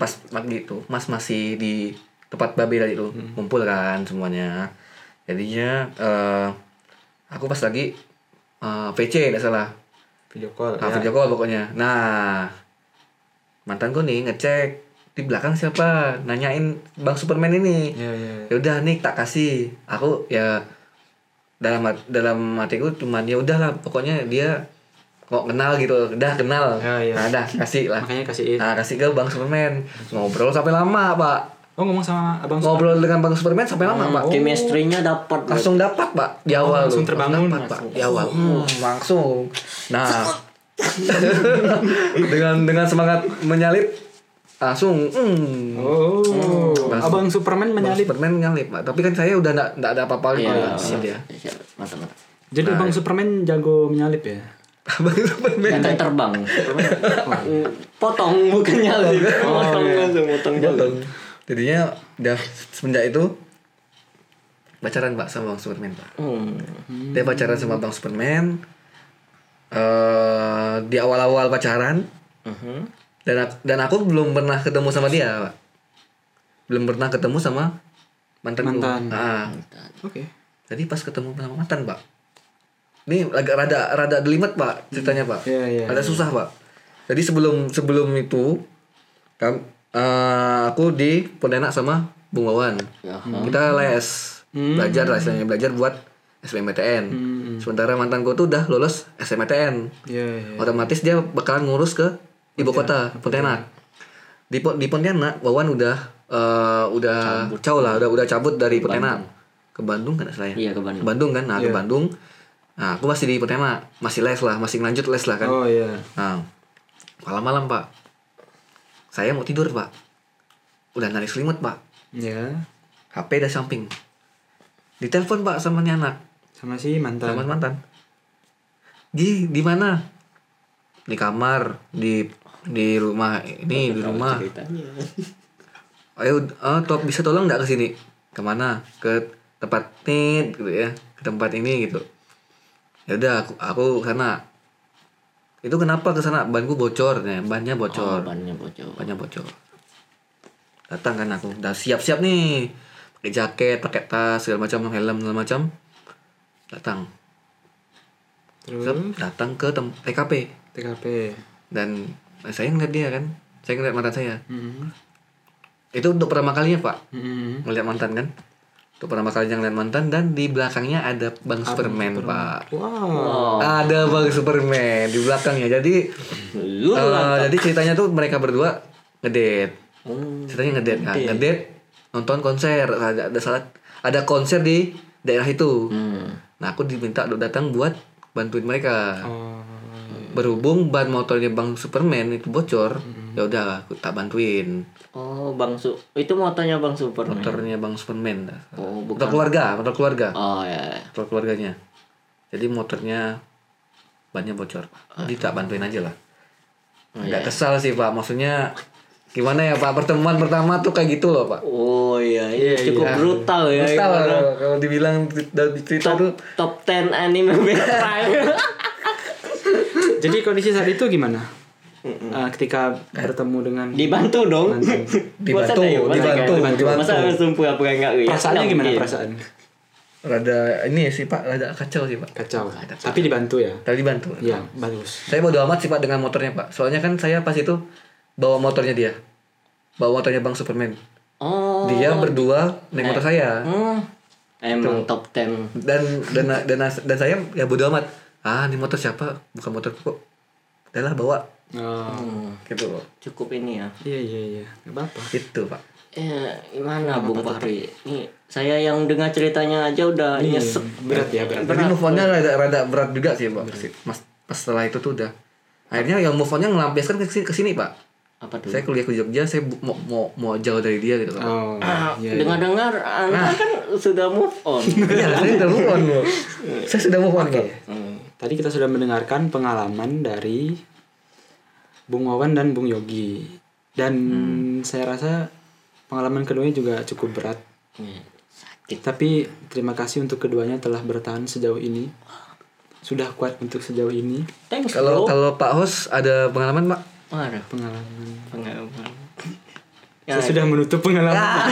Speaker 2: pas pagi itu Mas masih di tempat babe tadi itu
Speaker 1: Hmm.
Speaker 2: kumpul kan semuanya. Jadinya eh aku pas lagi eh, PC nggak salah.
Speaker 1: Video call.
Speaker 2: Nah,
Speaker 1: ya.
Speaker 2: video call pokoknya. Nah, mantanku nih ngecek di belakang siapa nanyain Bang Superman ini
Speaker 1: Iya iya.
Speaker 2: ya udah nih tak kasih aku ya dalam hat- dalam hatiku cuman ya udahlah pokoknya dia kok kenal gitu udah kenal
Speaker 1: Ya, ya.
Speaker 2: nah dah kasih lah
Speaker 1: Makanya kasihin.
Speaker 2: nah kasih ke bang Superman ngobrol sampai lama pak
Speaker 1: Oh, ngomong sama Abang Superman.
Speaker 2: ngobrol dengan bang Superman sampai lama pak
Speaker 3: chemistry-nya dapat.
Speaker 2: langsung dapat pak di
Speaker 1: Oh,
Speaker 2: awal
Speaker 1: langsung
Speaker 2: tuh.
Speaker 1: terbangun. Oh.
Speaker 2: dapat, pak di awal Hmm, langsung nah dengan dengan semangat menyalip langsung hmm,
Speaker 1: Oh.
Speaker 2: Bang-
Speaker 1: Abang Superman
Speaker 2: Bang
Speaker 1: menyalip.
Speaker 2: Superman nyalip pak tapi kan saya udah nggak nggak ada apa-apa lagi
Speaker 3: Iya,
Speaker 2: Pak, ya. sama dia
Speaker 3: siap. Mantap, mantap.
Speaker 1: Jadi Abang Superman jago menyalip ya.
Speaker 2: Abang Superman
Speaker 3: Bukan kan terbang. potong bukan nyalip. potong langsung, potong
Speaker 2: Botol. Jadinya udah semenjak itu pacaran pak sama Bang Superman pak.
Speaker 3: Hmm.
Speaker 2: Dia pacaran sama Bang Superman. eh di awal-awal pacaran
Speaker 3: Mhm.
Speaker 1: Uh-huh.
Speaker 2: dan ak- dan aku belum pernah ketemu sama dia pak. Belum pernah ketemu sama mantanku.
Speaker 1: Mantan.
Speaker 2: Nah,
Speaker 1: Oke.
Speaker 2: jadi pas ketemu sama mantan pak. Ini agak rada rada delimet pak ceritanya pak.
Speaker 1: Iya, iya,
Speaker 2: Rada susah pak. Jadi sebelum sebelum itu kam- eh, aku di Pontianak sama Bung Wawan.
Speaker 3: Ya.
Speaker 1: Hmm.
Speaker 2: Kita les belajar lah istilahnya belajar buat SBMPTN.
Speaker 1: Hmm.
Speaker 2: Sementara mantanku tuh udah lulus SMPTN.
Speaker 1: Iya iya.
Speaker 2: Otomatis dia bakalan ngurus ke ibu kota Pontianak. Di, Po- di Pontianak Wawan udah eh, udah jauh lah, udah udah cabut dari Pontianak ke Bandung kan saya.
Speaker 3: Iya, ke Bandung.
Speaker 2: kan, nah ke Bandung. Nah, aku masih di Pontianak, masih les lah, masih lanjut les lah kan.
Speaker 1: Oh iya.
Speaker 2: Nah, malam-malam pak, saya mau tidur pak, udah narik selimut pak,
Speaker 1: Ya.
Speaker 2: HP dari samping, ditelepon pak sama nih anak,
Speaker 1: Sama si
Speaker 2: sama
Speaker 1: mantan.
Speaker 2: mantan. Gi, di mana? Di kamar, di di rumah ini di rumah.
Speaker 3: Ceritanya.
Speaker 2: Ayo, eh, to- bisa tolong nggak ke sini? Kemana? Ke tempat ini gitu ya, ke tempat ini gitu. Ya udah, aku aku ke sana. Itu kenapa ke sana? Banku bocor, ya. bannya bocor.
Speaker 3: Korbannya bocor.
Speaker 2: banyak bocor datang kan aku udah siap-siap nih pakai jaket pakai tas segala macam helm segala macam datang
Speaker 1: Terus
Speaker 2: Zep, datang ke tem- TKP
Speaker 1: TKP.
Speaker 2: dan saya ngeliat dia kan saya ngeliat mantan saya
Speaker 1: Hmm.
Speaker 2: itu untuk pertama kalinya pak
Speaker 1: Hmm.
Speaker 2: ngeliat mantan kan untuk pertama kalinya ngeliat mantan dan di belakangnya ada bang Superman, pak
Speaker 1: Wow.
Speaker 3: Oh,
Speaker 2: ada bang Superman di belakangnya jadi eh,
Speaker 3: lu lah.
Speaker 2: jadi ceritanya tuh mereka berdua ngedate
Speaker 3: Hmm.
Speaker 2: ceritanya ngedate kan ngedate nonton konser ada ada salah ada konser di daerah itu
Speaker 3: Hmm.
Speaker 2: nah aku diminta untuk datang buat bantuin mereka
Speaker 1: Oh.
Speaker 2: berhubung ban motornya bang Superman itu bocor ya udah aku tak bantuin
Speaker 3: Oh, Bang Su. Itu motonya Bang Superman.
Speaker 2: motornya bang Superman
Speaker 3: Oh,
Speaker 2: motor keluarga motor keluarga
Speaker 3: Oh ya.
Speaker 2: motor keluarganya jadi motornya bannya bocor jadi tak bantuin aja lah nggak kesal sih pak maksudnya gimana ya pak pertemuan pertama tuh kayak gitu loh pak
Speaker 3: Oh iya, ini cukup
Speaker 2: iya.
Speaker 3: brutal ya.
Speaker 2: Brutal kalau- kalau dibilang cer- dari cerita
Speaker 3: Top
Speaker 2: tuh
Speaker 3: top 10 anime best crime.
Speaker 1: Jadi kondisi saat itu gimana? Eh, ketika bertemu dengan
Speaker 3: dibantu dong. Masa
Speaker 2: Dibantu,
Speaker 3: tak yuk? Masa
Speaker 2: dibantu,
Speaker 3: tak yuk?
Speaker 2: dibantu.
Speaker 3: Masa sumpah apa enggak ya?
Speaker 1: perasaannya
Speaker 3: Tak
Speaker 1: gimana
Speaker 3: mungkin.
Speaker 1: perasaan?
Speaker 2: rada ini sih pak rada kacau sih pak
Speaker 1: Kacau. Tapi dibantu ya.
Speaker 2: tadi bantu
Speaker 1: Iya, bagus.
Speaker 2: saya bodo amat sih pak dengan motornya pak soalnya kan saya pas itu bawa motornya dia bawa tanya bang Superman.
Speaker 3: Oh.
Speaker 2: Dia berdua naik motor saya.
Speaker 3: Hmm. Emang top 10
Speaker 2: dan dan dan dan saya ya bodo amat ah ini motor siapa bukan motor kok udahlah bawa
Speaker 1: Oh,
Speaker 2: gitu loh
Speaker 3: Hmm, cukup ini ya.
Speaker 1: iya iya iya. Gak apa-apa.
Speaker 2: itu pak
Speaker 3: Eh, gimana Bung Fahri? Nih, saya yang dengar ceritanya aja udah nyesek.
Speaker 1: Berat ya berat.
Speaker 2: jadi move onnya rada, rada berat juga sih pak mas pas setelah itu tuh udah akhirnya yang move onnya ngelampiaskan ke sini, ke sini pak
Speaker 3: Apa
Speaker 1: Iya,
Speaker 3: tuh?
Speaker 2: saya kuliah ke Jogja saya bu- mau mau mau jauh dari dia gitu kan
Speaker 1: Oh, iya. iya.
Speaker 3: Ah, Dengar-dengar Anda kan sudah move on.
Speaker 2: iya saya udah move on loh saya sudah move on pak
Speaker 1: Tadi kita sudah mendengarkan pengalaman dari Bung Wawan dan Bung Yogi. Dan saya rasa pengalaman keduanya juga cukup berat.
Speaker 3: Nih, Sakit.
Speaker 1: Tapi terima kasih untuk keduanya telah bertahan sejauh ini. Sudah kuat untuk sejauh ini
Speaker 3: Thanks
Speaker 2: kalau
Speaker 3: bro.
Speaker 2: kalau Pak Hos ada pengalaman pak
Speaker 3: Waduh,
Speaker 1: pengalaman.
Speaker 3: pengalaman. Ya,
Speaker 1: Saya sudah menutup pengalaman.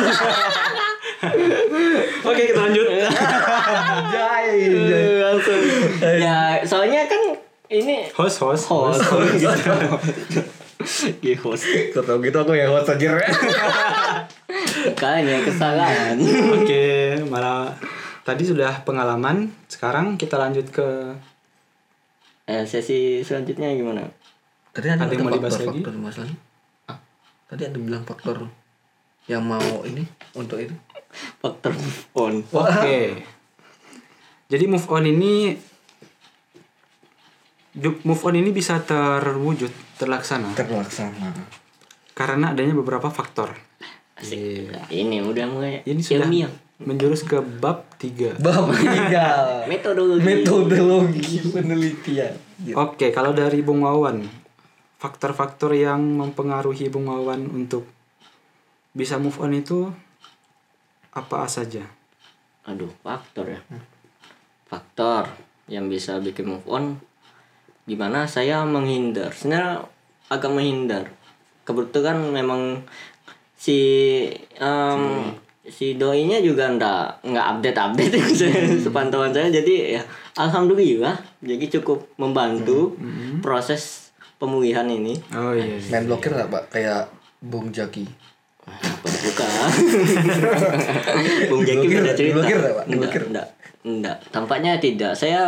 Speaker 1: Oke, kita lanjut.
Speaker 2: Jai
Speaker 3: Eh, langsung. ya, soalnya kan ini
Speaker 1: Host, host,
Speaker 3: host, host gitu. Di host.
Speaker 2: Kau tau gitu aku yang host aja
Speaker 3: Makanya kesalahan.
Speaker 1: Oke, malah tadi sudah pengalaman. Sekarang kita lanjut ke
Speaker 3: Eh, sesi selanjutnya gimana?
Speaker 2: Tadi ada,
Speaker 1: Ada yang
Speaker 2: yang
Speaker 1: mau dibahas
Speaker 2: faktor,
Speaker 1: lagi?
Speaker 2: faktor masalahnya. Tadi ada bilang faktor yang mau ini untuk itu.
Speaker 3: Faktor move on.
Speaker 1: Oke. Jadi move on ini du- move on ini bisa terwujud, terlaksana
Speaker 2: Terlaksana.
Speaker 1: karena adanya beberapa faktor. Iya.
Speaker 3: Nah, Ini udah mulai
Speaker 1: Ini sudah
Speaker 3: ilmiah.
Speaker 1: menjurus ke bab 3.
Speaker 2: Bab tiga.
Speaker 3: Metodologi.
Speaker 2: Metodologi penelitian.
Speaker 1: Oke, kalau dari Bung Wawan, faktor-faktor yang mempengaruhi Bung Wawan untuk bisa move on itu apa saja?
Speaker 3: Aduh, faktor ya. Faktor yang bisa bikin move on gimana saya menghindar. Sebenarnya agak menghindar. Kebetulan memang si em, si doinya juga ndak nggak update update
Speaker 1: Hmm.
Speaker 3: sepantauan saya jadi ya alhamdulillah jadi cukup membantu
Speaker 1: Hmm.
Speaker 3: proses pemulihan ini
Speaker 1: Oh iya.
Speaker 2: Main blokir nggak pak? Kayak Bung Jaki.
Speaker 3: Wah, apa bukan Bung Jaki
Speaker 2: Diblokir
Speaker 3: beda
Speaker 2: nggak?
Speaker 3: cerita
Speaker 2: Diblokir nggak, Pak?
Speaker 3: enggak,
Speaker 2: Diblokir.
Speaker 3: enggak, enggak. tampaknya tidak saya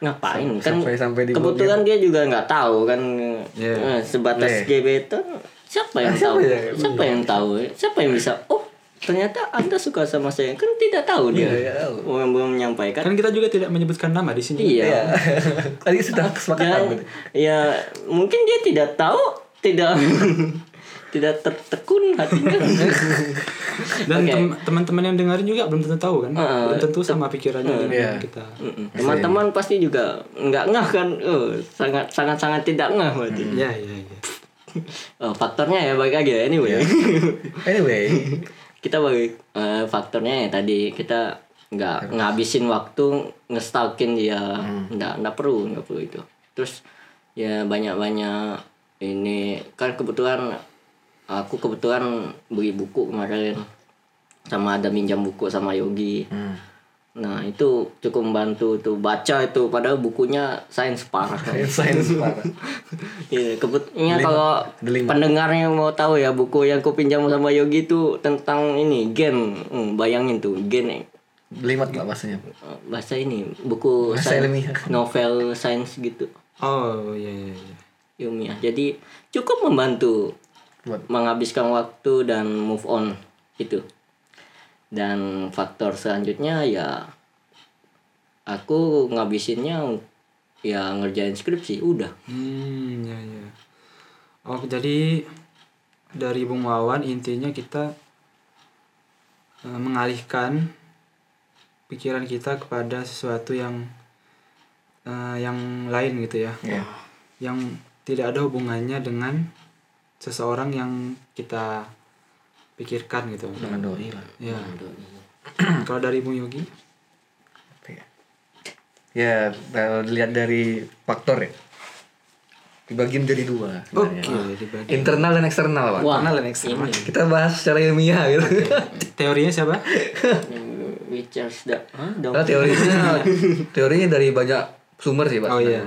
Speaker 3: ngapain kan
Speaker 2: sampai- sampai diblokir.
Speaker 3: kebetulan dia juga nggak tahu kan
Speaker 1: Iya.
Speaker 3: Eh, sebatas
Speaker 2: Eh.
Speaker 3: gebetan siapa yang tahu
Speaker 2: ya?
Speaker 3: siapa yang tahu siapa yang bisa oh ternyata anda suka sama saya kan tidak tahu dia
Speaker 2: Iya, iya, tahu. Kan
Speaker 3: orang belum menyampaikan
Speaker 1: Kan kita juga tidak menyebutkan nama di sini.
Speaker 3: iya
Speaker 2: Tadi sudah
Speaker 3: dan
Speaker 2: kesepakatan.
Speaker 3: ya mungkin dia tidak tahu tidak tidak tertekun hatinya
Speaker 1: Dan
Speaker 3: Oke.
Speaker 1: tem- teman-teman yang dengerin juga belum tentu tahu kan?
Speaker 3: Heeh.
Speaker 1: belum tentu sama pikirannya dengan
Speaker 2: Iya.
Speaker 1: kita.
Speaker 3: Mm-mm. teman-teman pasti juga nggak ngah kan Eh, sangat sangat sangat tidak ngah berarti
Speaker 1: Ya, ya, ya.
Speaker 3: Eh, faktornya ya balik lagi ya, anyway
Speaker 2: Anyway,
Speaker 3: kita bagi eh, faktornya ya tadi kita nggak ngabisin waktu ngestalkin dia nggak nggak perlu nggak perlu itu terus ya banyak banyak ini kan kebetulan aku kebetulan beli buku kemarin sama ada minjam buku sama Yogi
Speaker 2: Hmm.
Speaker 3: nah itu cukup membantu tuh baca itu padahal bukunya sains parah
Speaker 2: sains parah.
Speaker 3: Iya, kebetulannya kalau pendengarnya mau tahu ya buku yang ku pinjam sama Yogi itu tentang ini gen, Hmm, bayangin tuh gen eh,
Speaker 2: Belimat nggak bahasanya?
Speaker 3: bahasa ini buku
Speaker 2: Bahasa
Speaker 3: sains-
Speaker 2: ilmiah.
Speaker 3: novel sains gitu
Speaker 1: Oh, ya, ya, ya.
Speaker 3: ilmiah. Jadi cukup membantu
Speaker 2: Buat
Speaker 3: menghabiskan waktu dan move on itu. Dan faktor selanjutnya ya aku ngabisinnya ya ngerjain skripsi udah.
Speaker 1: Hmm, ya, ya. Oh, jadi dari Bung Wawan intinya kita eh, mengalihkan pikiran kita kepada sesuatu yang eh, yang lain gitu ya.
Speaker 2: Iya.
Speaker 1: Yang tidak ada hubungannya dengan seseorang yang kita pikirkan gitu.
Speaker 2: dengan doi lah.
Speaker 1: Ya. Kalau dari Bung Yogi?
Speaker 2: Ya, kalau dilihat dari faktor ya. Dibagi menjadi dua.
Speaker 1: Oke,
Speaker 2: sebenarnya.
Speaker 1: dibagi.
Speaker 2: Internal dan eksternal Nah, ya. pak.
Speaker 3: Wah,
Speaker 1: Kenal next
Speaker 3: ini.
Speaker 2: Kita bahas secara ilmiah gitu.
Speaker 1: Teorinya siapa?
Speaker 3: Witchers da Hah? Dong.
Speaker 2: Karena teorinya teorinya dari banyak sumber sih
Speaker 1: Oh
Speaker 2: pak.
Speaker 1: iya.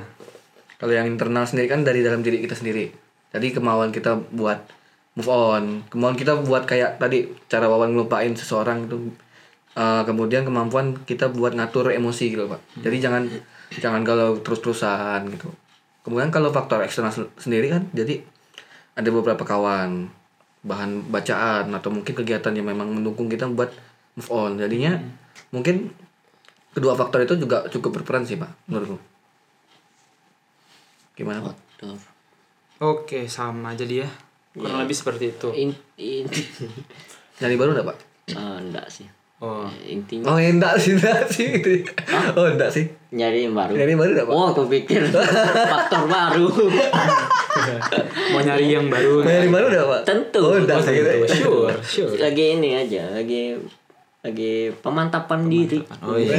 Speaker 2: Kalau yang internal sendiri kan dari dalam diri kita sendiri. Jadi kemauan kita buat move on kemauan kita buat kayak tadi cara wawan ngelupain seseorang itu eh, kemudian kemampuan kita buat ngatur emosi gitu pak jadi jangan jangan kalau terus-terusan gitu kemudian kalau faktor eksternal sen- sendiri kan jadi ada beberapa kawan bahan bacaan atau mungkin kegiatan yang memang mendukung kita buat move on jadinya mungkin kedua faktor itu juga cukup berperan sih pak menurutku gimana pak
Speaker 3: Faktor.
Speaker 1: Oke, sama jadi ya. Kurang lebih seperti itu.
Speaker 3: In, in,
Speaker 2: nyari baru enggak pak
Speaker 3: Ah, enggak sih.
Speaker 1: Oh.
Speaker 2: oh
Speaker 3: Intinya
Speaker 2: enggak sih enggak sih gitu ya. oh enggak sih
Speaker 3: nyari yang baru.
Speaker 2: nyari baru enggak pak
Speaker 3: Oh, aku pikir faktor baru.
Speaker 1: Mau nyari yang baru.
Speaker 2: nyari baru enggak pak
Speaker 3: iya, Tentu.
Speaker 2: oh enggak sih gitu ya.
Speaker 1: Sure, sure.
Speaker 3: lagi ini aja, lagi lagi pemantapan, diri.
Speaker 1: Oh iya.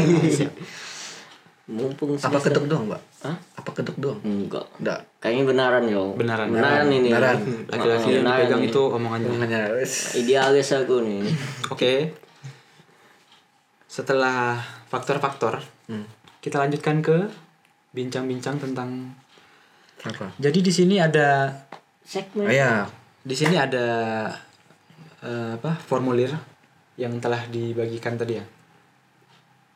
Speaker 3: Mumpung
Speaker 2: apa
Speaker 3: semester-
Speaker 2: ketuk doang pak
Speaker 3: Hah?
Speaker 2: apa ketuk doang
Speaker 3: Enggak.
Speaker 2: enggak
Speaker 3: Kayaknya benaran yo.
Speaker 1: Benaran.
Speaker 3: Benaran, ini.
Speaker 2: Benaran.
Speaker 1: Laki-laki yang
Speaker 3: Benaran
Speaker 1: dipegang
Speaker 3: ini.
Speaker 1: itu omongannya.
Speaker 2: Makanya, wes.
Speaker 3: Idealis aku nih.
Speaker 1: Oke. Setelah faktor-faktor,
Speaker 2: Hmm.
Speaker 1: kita lanjutkan ke bincang-bincang tentang
Speaker 2: apa
Speaker 1: Jadi di sini ada
Speaker 3: Segmen.
Speaker 2: oh, ya
Speaker 1: di sini ada eh, apa? formulir yang telah dibagikan tadi ya.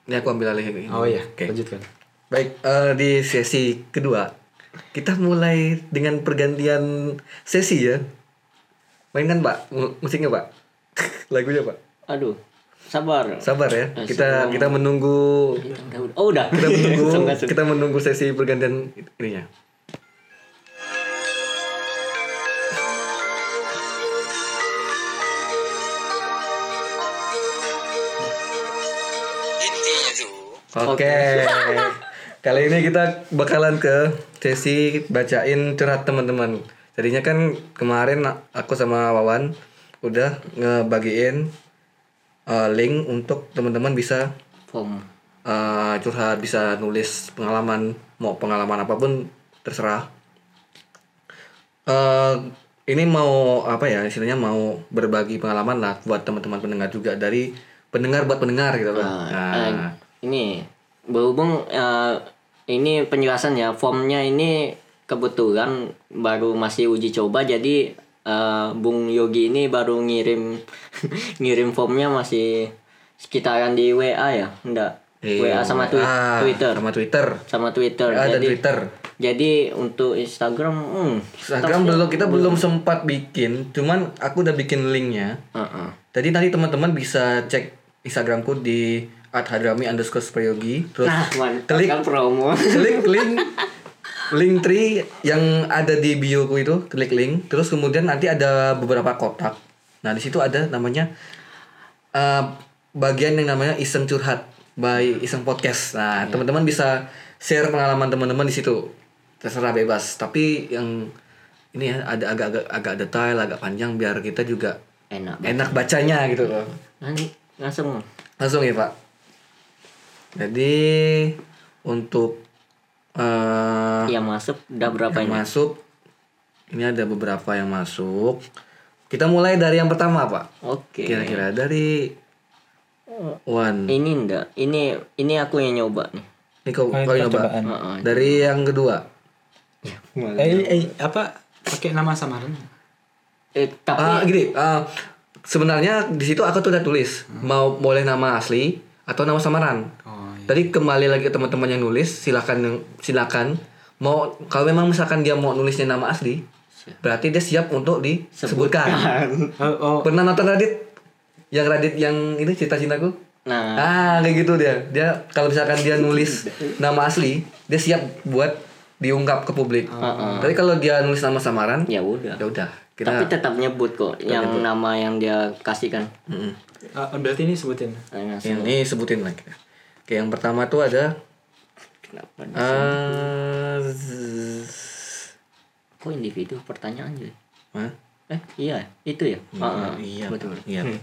Speaker 2: ini aku ambil alih ini.
Speaker 1: Oh iya,
Speaker 2: oke
Speaker 1: lanjutkan.
Speaker 2: Baik, eh, di sesi kedua kita mulai dengan pergantian sesi ya. Mainkan Pak, mu- musiknya Pak, lagunya Pak.
Speaker 3: Aduh. Sabar.
Speaker 2: Sabar ya, kita kita menunggu
Speaker 3: Udah, udah. Oh, udah.
Speaker 2: kita menunggu
Speaker 3: Langsung masuk.
Speaker 2: kita menunggu sesi pergantian ininya. Oke. Kali ini kita bakalan ke sesi bacain curhat teman-teman. Jadinya kan kemarin aku sama Wawan udah ngebagiin eh, link untuk teman-teman bisa
Speaker 3: Form.
Speaker 2: eh, curhat, bisa nulis pengalaman, mau pengalaman apapun terserah. eh ini mau apa ya istilahnya mau berbagi pengalaman lah buat teman-teman pendengar juga dari pendengar buat pendengar gitu kan.
Speaker 3: Nah,
Speaker 2: Nah.
Speaker 3: eh, ini berhubung eh, ini penjelasan ya formnya ini kebetulan baru masih uji coba jadi eh, Bung Yogi ini baru ngirim ngirim formnya masih sekitaran di WA ya enggak
Speaker 2: Iya,
Speaker 3: WA sama twi-
Speaker 2: WA,
Speaker 3: Twitter
Speaker 2: sama Twitter
Speaker 3: sama Twitter
Speaker 2: WA dan
Speaker 3: jadi
Speaker 2: Twitter
Speaker 3: jadi untuk Instagram hmm,
Speaker 2: Instagram belum kita belum sempat bikin cuman aku udah bikin linknya
Speaker 3: uh-uh.
Speaker 2: jadi nanti teman-teman bisa cek Instagramku di @hadrami underscore prayogi terus
Speaker 3: nah mantap
Speaker 2: klik
Speaker 3: kan promo
Speaker 2: klik link link tree yang ada di bio ku itu klik link terus kemudian nanti ada beberapa kotak nah di situ ada namanya eh, bagian yang namanya iseng curhat by iseng podcast nah teman-teman bisa share pengalaman teman-teman di situ terserah bebas tapi yang ini ya ada agak-agak agak detail agak panjang biar kita juga
Speaker 3: enak banget.
Speaker 2: enak bacanya gitu loh
Speaker 3: Nanti langsung
Speaker 2: Langsung ya Pak. Jadi untuk eh
Speaker 3: yang Iya, masuk udah berapa
Speaker 2: yang
Speaker 3: ini
Speaker 2: masuk ini ada beberapa yang masuk. Kita mulai dari yang pertama Pak.
Speaker 3: oke
Speaker 2: Kira-kira dari Wan.
Speaker 3: Ini enggak, ini ini aku yang nyoba nih.
Speaker 2: Ini kau kau coba. Dari yang kedua.
Speaker 1: Eh, eh, apa pakai nama samaran?
Speaker 3: Eh, tapi
Speaker 2: Ah gini. eh, sebenarnya di situ aku tuh udah tulis
Speaker 3: Hmm.
Speaker 2: mau boleh nama asli atau nama samaran.
Speaker 1: Oh, iya.
Speaker 2: Tadi kembali lagi ke teman-teman yang nulis, silakan silakan mau kalau memang misalkan dia mau nulisnya nama asli, berarti dia siap untuk disebutkan.
Speaker 1: Oh, oh,
Speaker 2: Pernah nonton Radit? Yang Radit yang ini cerita cintaku?
Speaker 3: nah,
Speaker 2: Ah, kayak gitu dia. Dia kalau misalkan dia nulis nama asli, dia siap buat diungkap ke publik. Tapi kalau dia nulis nama samaran,
Speaker 3: ya udah.
Speaker 2: ya udah.
Speaker 3: Tapi
Speaker 2: Kita
Speaker 3: tetap nyebut kok yang nama yang dia kasihkan.
Speaker 2: Mm-mm.
Speaker 1: eh, berarti ini sebutin.
Speaker 3: Eh, langsung.
Speaker 2: ini sebutin lagi. Oke, yang pertama tuh ada
Speaker 3: Kenapa?
Speaker 2: eh z-
Speaker 3: Kok individu pertanyaan jadi?
Speaker 2: Hah?
Speaker 3: Eh, iya, itu ya. Ah, ah,
Speaker 2: iya,
Speaker 3: betul.
Speaker 2: Pak. Iya. Pak.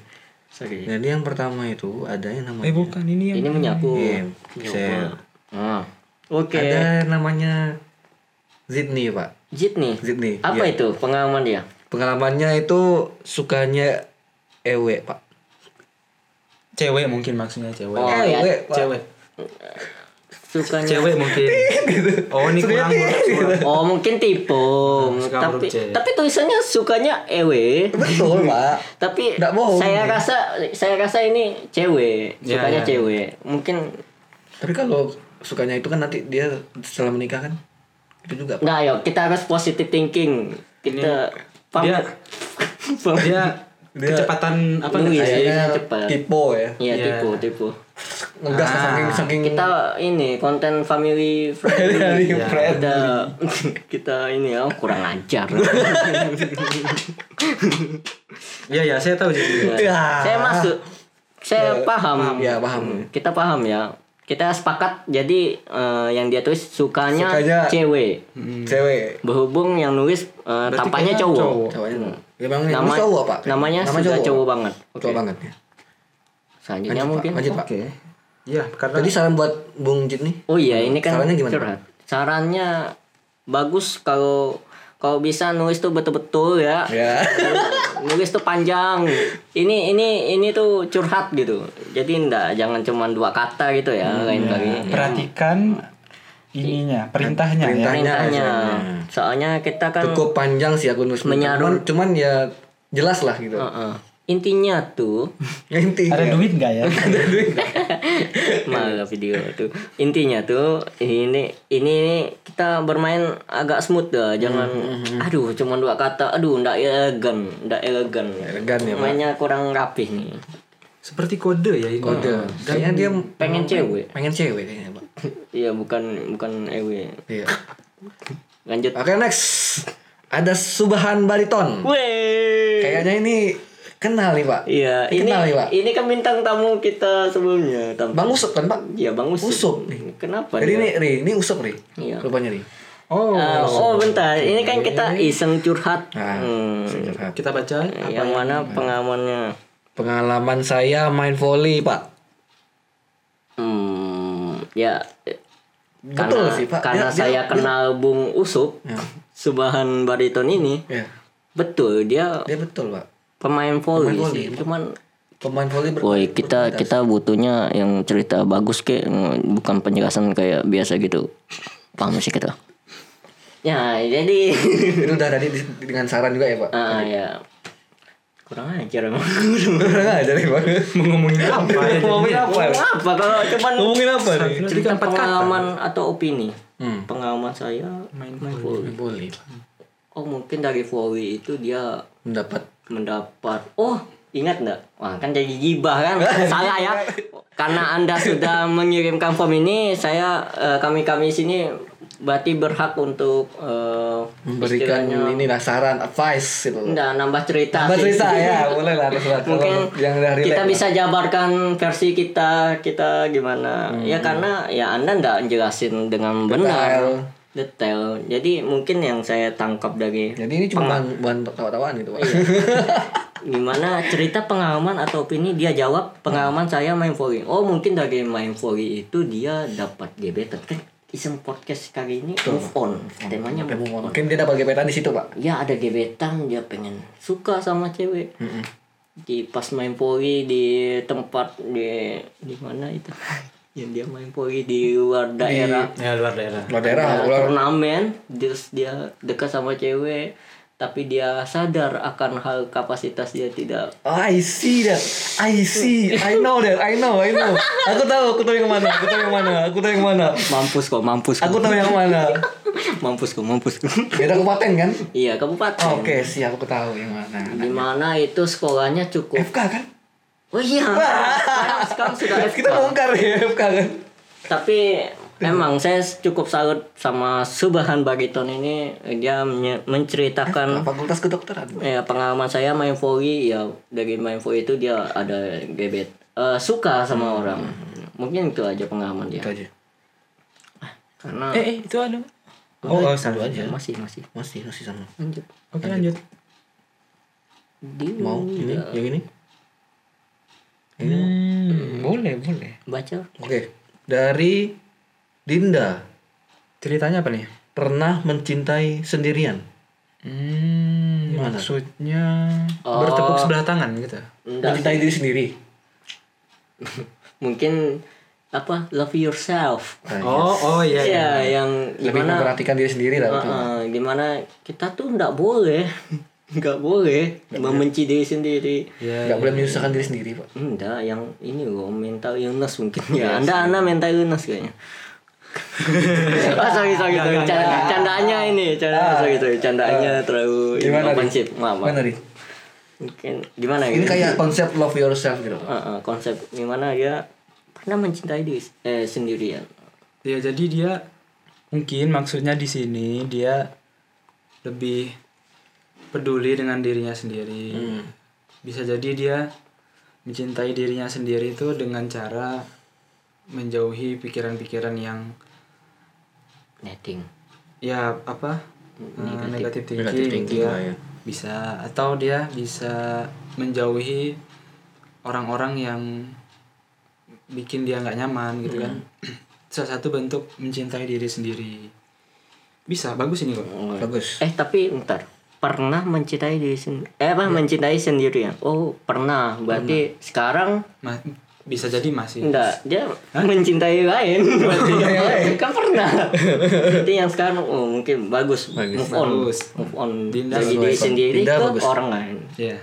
Speaker 3: Sorry.
Speaker 2: Jadi yang pertama itu ada yang namanya
Speaker 1: Eh, bukan ini yang
Speaker 3: Ini menyapu.
Speaker 2: Iya, share.
Speaker 3: Ah. Oke.
Speaker 2: Ada namanya Zidni, Pak.
Speaker 3: Jit nih.
Speaker 2: Zidni.
Speaker 3: Apa
Speaker 2: iya.
Speaker 3: itu pengalaman dia?
Speaker 2: Pengalamannya itu sukanya ewe, Pak.
Speaker 1: cewek mungkin maksudnya cewek.
Speaker 3: Oh, ya.
Speaker 2: Ewe, Pak.
Speaker 1: Cewek.
Speaker 3: sukanya
Speaker 1: cewek mungkin oh ini gitu. kurang kurang-
Speaker 3: Oh mungkin tipe
Speaker 1: Nah, suka huruf
Speaker 3: tapi
Speaker 1: C.
Speaker 3: tapi tulisannya sukanya ewe
Speaker 2: Betul, Pak.
Speaker 3: tapi
Speaker 2: Nggak bohong.
Speaker 3: saya rasa saya rasa ini cewek
Speaker 1: Ya, ya.
Speaker 3: sukanya cewek mungkin
Speaker 2: Tapi kalau sukanya itu kan nanti dia setelah menikah kan itu juga Pak.
Speaker 3: nggak ya kita harus positive thinking kita
Speaker 1: kurang.
Speaker 3: paham
Speaker 1: dia
Speaker 3: paham.
Speaker 1: dia
Speaker 2: Dia-
Speaker 1: kecepatan apa
Speaker 2: Iya,
Speaker 3: Nulis.
Speaker 1: nih
Speaker 2: Kayaknya
Speaker 3: cepat.
Speaker 2: tipe ya.
Speaker 3: Iya
Speaker 1: Ya.
Speaker 3: tipu tipu.
Speaker 2: Ngegas
Speaker 1: Ah.
Speaker 2: saking saking
Speaker 3: Kita ini konten family friendly.
Speaker 2: Family friendly.
Speaker 3: Kita kita ini ya kurang ajar.
Speaker 1: iya ya saya tahu jadi
Speaker 2: Ya.
Speaker 3: saya masuk. Saya paham.
Speaker 2: Ya, paham.
Speaker 3: Kita paham ya. Kita sepakat jadi eh, yang dia tulis sukanya,
Speaker 2: Sukanya-
Speaker 3: cewek.
Speaker 2: Hmm. Cewek.
Speaker 3: Berhubung yang nulis eh,
Speaker 1: Berarti
Speaker 3: tampaknya
Speaker 1: kayaknya
Speaker 3: cowok.
Speaker 1: cowok.
Speaker 2: Cowoknya. Ya Bang, ini
Speaker 3: Nama-
Speaker 2: cowok, Pak.
Speaker 3: namanya
Speaker 2: Nama
Speaker 3: sudah cowok banget.
Speaker 2: Cowok
Speaker 3: Oke.
Speaker 2: banget ya.
Speaker 3: Selanjutnya
Speaker 2: Lanjut, Pak.
Speaker 3: Ya, mungkin.
Speaker 2: Lanjut, Pak.
Speaker 1: oke iya karena
Speaker 2: Jadi saran buat Bung Jit nih.
Speaker 3: Oh iya, ini kan
Speaker 2: Sarannya gimana?
Speaker 3: curhat. Sarannya bagus kalau kalau bisa nulis tuh betul-betul ya.
Speaker 2: Ya.
Speaker 3: nulis tuh panjang ini ini ini tuh curhat gitu jadi ndak jangan cuman dua kata gitu ya
Speaker 2: Hmm,
Speaker 3: lain kali
Speaker 1: perhatikan ininya perintahnya
Speaker 2: ya. Perintah.
Speaker 3: perintahnya
Speaker 2: Perintahnya.
Speaker 3: hmm. soalnya kita kan
Speaker 2: Cukup panjang sih aku nulis cuman,
Speaker 3: Menyadur.
Speaker 2: cuman ya jelas lah gitu.
Speaker 3: Heeh. intinya tuh
Speaker 2: Ya intinya.
Speaker 1: nggak ya
Speaker 3: malah video tuh intinya tuh ini ini kita bermain agak smooth dah jangan
Speaker 2: Hmm,
Speaker 3: aduh cuman dua kata aduh ndak elegan ndak elegan
Speaker 2: elegan ya, Pak.
Speaker 3: mainnya kurang rapih nih
Speaker 1: seperti kode ya ini
Speaker 2: Kode. Kayaknya dia
Speaker 3: pengen cewek
Speaker 2: pengen cewek kayaknya, Pak.
Speaker 3: iya bukan bukan ewe
Speaker 2: Iya.
Speaker 3: lanjut
Speaker 2: Oke, next. Ada Subahan Bariton.
Speaker 3: Wey.
Speaker 2: Kayaknya ini kenal nih, Pak.
Speaker 3: Iya, ini
Speaker 2: Kenal nih, ya, Pak.
Speaker 3: ini kan bintang tamu kita sebelumnya. Tamu.
Speaker 2: Bang Usop kan, Pak?
Speaker 3: Iya, Bang Usup.
Speaker 2: Usup.
Speaker 3: Kenapa?
Speaker 2: Jadi
Speaker 3: dia?
Speaker 2: ini Ri, ini Usop Ri.
Speaker 3: Iya.
Speaker 2: Rupanya Ri.
Speaker 1: oh
Speaker 3: Eh, oh, bentar. Ini kan kita iseng curhat.
Speaker 2: Nah, ya?
Speaker 3: Hmm. Eh.
Speaker 2: curhat.
Speaker 1: kita baca apa
Speaker 3: yang mana pengamannya?
Speaker 2: Pengalaman saya main volley, Pak.
Speaker 3: Hmm, ya eh,
Speaker 2: Betul sih, Pak.
Speaker 3: Karena
Speaker 2: Dia-
Speaker 3: saya
Speaker 2: dia-
Speaker 3: kenal Bung Usup,
Speaker 2: Ya.
Speaker 3: Subahan Bariton ini.
Speaker 2: Iya.
Speaker 3: Betul, dia
Speaker 2: Dia betul, Pak.
Speaker 3: pemain volley
Speaker 2: Pemain
Speaker 3: sih.
Speaker 2: volley.
Speaker 3: Cuman
Speaker 2: Pemain volley ber-
Speaker 3: Woi kita kita butuhnya yang cerita bagus ke bukan penjelasan kayak biasa gitu paham sih kita ya jadi
Speaker 2: itu udah tadi di- dengan saran juga ya, Pak.
Speaker 3: ah ya kurang ajar emang
Speaker 2: Kurang aja nih, Pak.
Speaker 1: mau ngomongin apa ya
Speaker 2: Ngomongin apa? Oh,
Speaker 3: apa kalau cuman
Speaker 2: Ngomongin apa nih?
Speaker 3: cerita pengalaman atau opini
Speaker 2: Hmm.
Speaker 3: pengalaman saya main volley
Speaker 2: Main volley, Pak.
Speaker 3: oh mungkin dari volley itu dia
Speaker 2: Mendapat
Speaker 3: mendapat oh ingat nggak wah kan jadi gibah kan salah ya karena anda sudah mengirimkan form ini saya kami kami sini berarti berhak untuk eh,
Speaker 2: Hmm. memberikan
Speaker 3: istilahnya-
Speaker 2: ini lah saran, advice gitu.
Speaker 3: nggak nambah cerita
Speaker 2: Nambah
Speaker 3: sih.
Speaker 2: cerita ya, boleh lah harus lah. Kalau
Speaker 3: mungkin
Speaker 2: yang udah relate
Speaker 3: kita
Speaker 2: lah.
Speaker 3: bisa jabarkan versi kita kita gimana
Speaker 2: Hmm.
Speaker 3: ya karena ya anda nggak jelasin dengan benar
Speaker 2: Detail.
Speaker 3: detail jadi mungkin yang saya tangkap dari
Speaker 2: Jadi ini cuma bahan, bahan tawa-tawaan gitu, Pak.
Speaker 3: Iya. gimana cerita pengalaman atau opini dia jawab pengalaman saya main volley oh mungkin dari main volley itu dia dapat gebetan kan iseng podcast kali ini move on temanya
Speaker 2: Tapi
Speaker 3: move on
Speaker 2: mungkin dia dapat gebetan di situ, Pak.
Speaker 3: ya ada gebetan dia pengen suka sama cewek di pas main volley di tempat di di mana itu yang dia main volley di luar daerah
Speaker 1: ya luar
Speaker 3: Nah.
Speaker 1: daerah
Speaker 2: Luar daerah,
Speaker 3: ada
Speaker 2: luar
Speaker 3: turnamen terus dia dekat sama cewek tapi dia sadar akan hal kapasitas dia tidak
Speaker 2: Oh, I see that. I see. I know that. I know. I know. Aku tahu. Aku tahu yang mana. Aku tahu yang mana. Aku tahu yang mana.
Speaker 3: mampus kok mampus kok.
Speaker 2: Aku tahu yang mana.
Speaker 3: mampus kok mampus kok
Speaker 2: Beda kabupaten kan?
Speaker 3: iya kabupaten
Speaker 2: Oh, Oke, siap. Aku tahu yang mana.
Speaker 3: di mana itu sekolahnya cukup
Speaker 2: FK kan?
Speaker 3: oh iya sekarang, sekarang sudah
Speaker 2: Kita
Speaker 3: FK.
Speaker 2: bongkar ya FK kan?
Speaker 3: tapi emang saya cukup salut sama Subahan Bariton ini dia
Speaker 1: Eh,
Speaker 3: menye- menceritakan
Speaker 2: Fakultas kedokteran.
Speaker 3: ya pengalaman saya main volley ya dari main volley itu dia ada gebet eh, suka
Speaker 1: Hmm.
Speaker 3: sama orang mungkin itu aja pengalaman dia
Speaker 2: Itu
Speaker 3: Ah,
Speaker 2: aja.
Speaker 3: karena
Speaker 1: eh itu ada oh, oh satu aja
Speaker 3: masih masih
Speaker 2: Masih masih sama.
Speaker 3: lanjut
Speaker 1: oke lanjut
Speaker 3: Dia
Speaker 2: Mau ini? Yang ini?
Speaker 1: hmm, boleh boleh
Speaker 3: baca
Speaker 2: Oke. Dari Dinda
Speaker 1: ceritanya apa nih
Speaker 2: pernah mencintai sendirian.
Speaker 1: hmm,
Speaker 2: Gimana?
Speaker 1: maksudnya
Speaker 3: Oh.
Speaker 1: bertepuk sebelah tangan gitu
Speaker 3: Enggak.
Speaker 2: Mencintai diri sendiri.
Speaker 3: mungkin apa love yourself
Speaker 2: Nah,
Speaker 1: Oh, oh iya.
Speaker 3: Iya,
Speaker 1: iya.
Speaker 3: yang
Speaker 2: lebih
Speaker 3: gimana
Speaker 2: memperhatikan diri sendiri lah betul.
Speaker 3: Heeh, gimana kita tuh nggak boleh nggak boleh membenci diri sendiri
Speaker 1: Iya.
Speaker 2: nggak boleh menyusahkan diri sendiri pak
Speaker 3: enggak yang ini loh mental illness mungkin
Speaker 2: Iya,
Speaker 3: ya anda anda mental illness kayaknya oh, sorry sorry, sorry. Canda, candaannya ini canda sorry sorry candaannya terlalu ini,
Speaker 2: Ah, gimana Ri?
Speaker 3: offensive. maaf maaf.
Speaker 2: gimana nih
Speaker 3: mungkin gimana
Speaker 2: ini
Speaker 3: gitu?
Speaker 2: kayak konsep love yourself gitu Pak.
Speaker 3: Heeh, konsep gimana dia pernah mencintai diri eh, sendirian
Speaker 1: Ya jadi dia mungkin maksudnya di sini dia lebih peduli dengan dirinya sendiri. Bisa jadi dia mencintai dirinya sendiri itu dengan cara menjauhi pikiran-pikiran yang
Speaker 3: netting
Speaker 1: ya apa eh, negatif thinking,
Speaker 2: Negative thinking
Speaker 1: dia
Speaker 2: lah ya.
Speaker 1: bisa atau dia bisa menjauhi orang-orang yang bikin dia nggak nyaman gitu kan
Speaker 2: Hmm.
Speaker 1: salah satu bentuk mencintai diri sendiri bisa bagus ini kok
Speaker 2: bagus
Speaker 3: Eh tapi ntar pernah mencintai diri sendiri eh apa mencintai sendirian oh pernah berarti sekarang
Speaker 1: Ma- bisa jadi iya. masih
Speaker 3: enggak dia mencintai lain berarti kan pernah berarti yang sekarang oh, mungkin bagus,
Speaker 2: Bagus,
Speaker 3: move on
Speaker 1: bagus.
Speaker 3: move on
Speaker 1: Dinda
Speaker 2: bagus.
Speaker 3: dari diri sendiri
Speaker 2: Dinda
Speaker 3: ke
Speaker 2: bagus.
Speaker 3: orang lain
Speaker 1: ya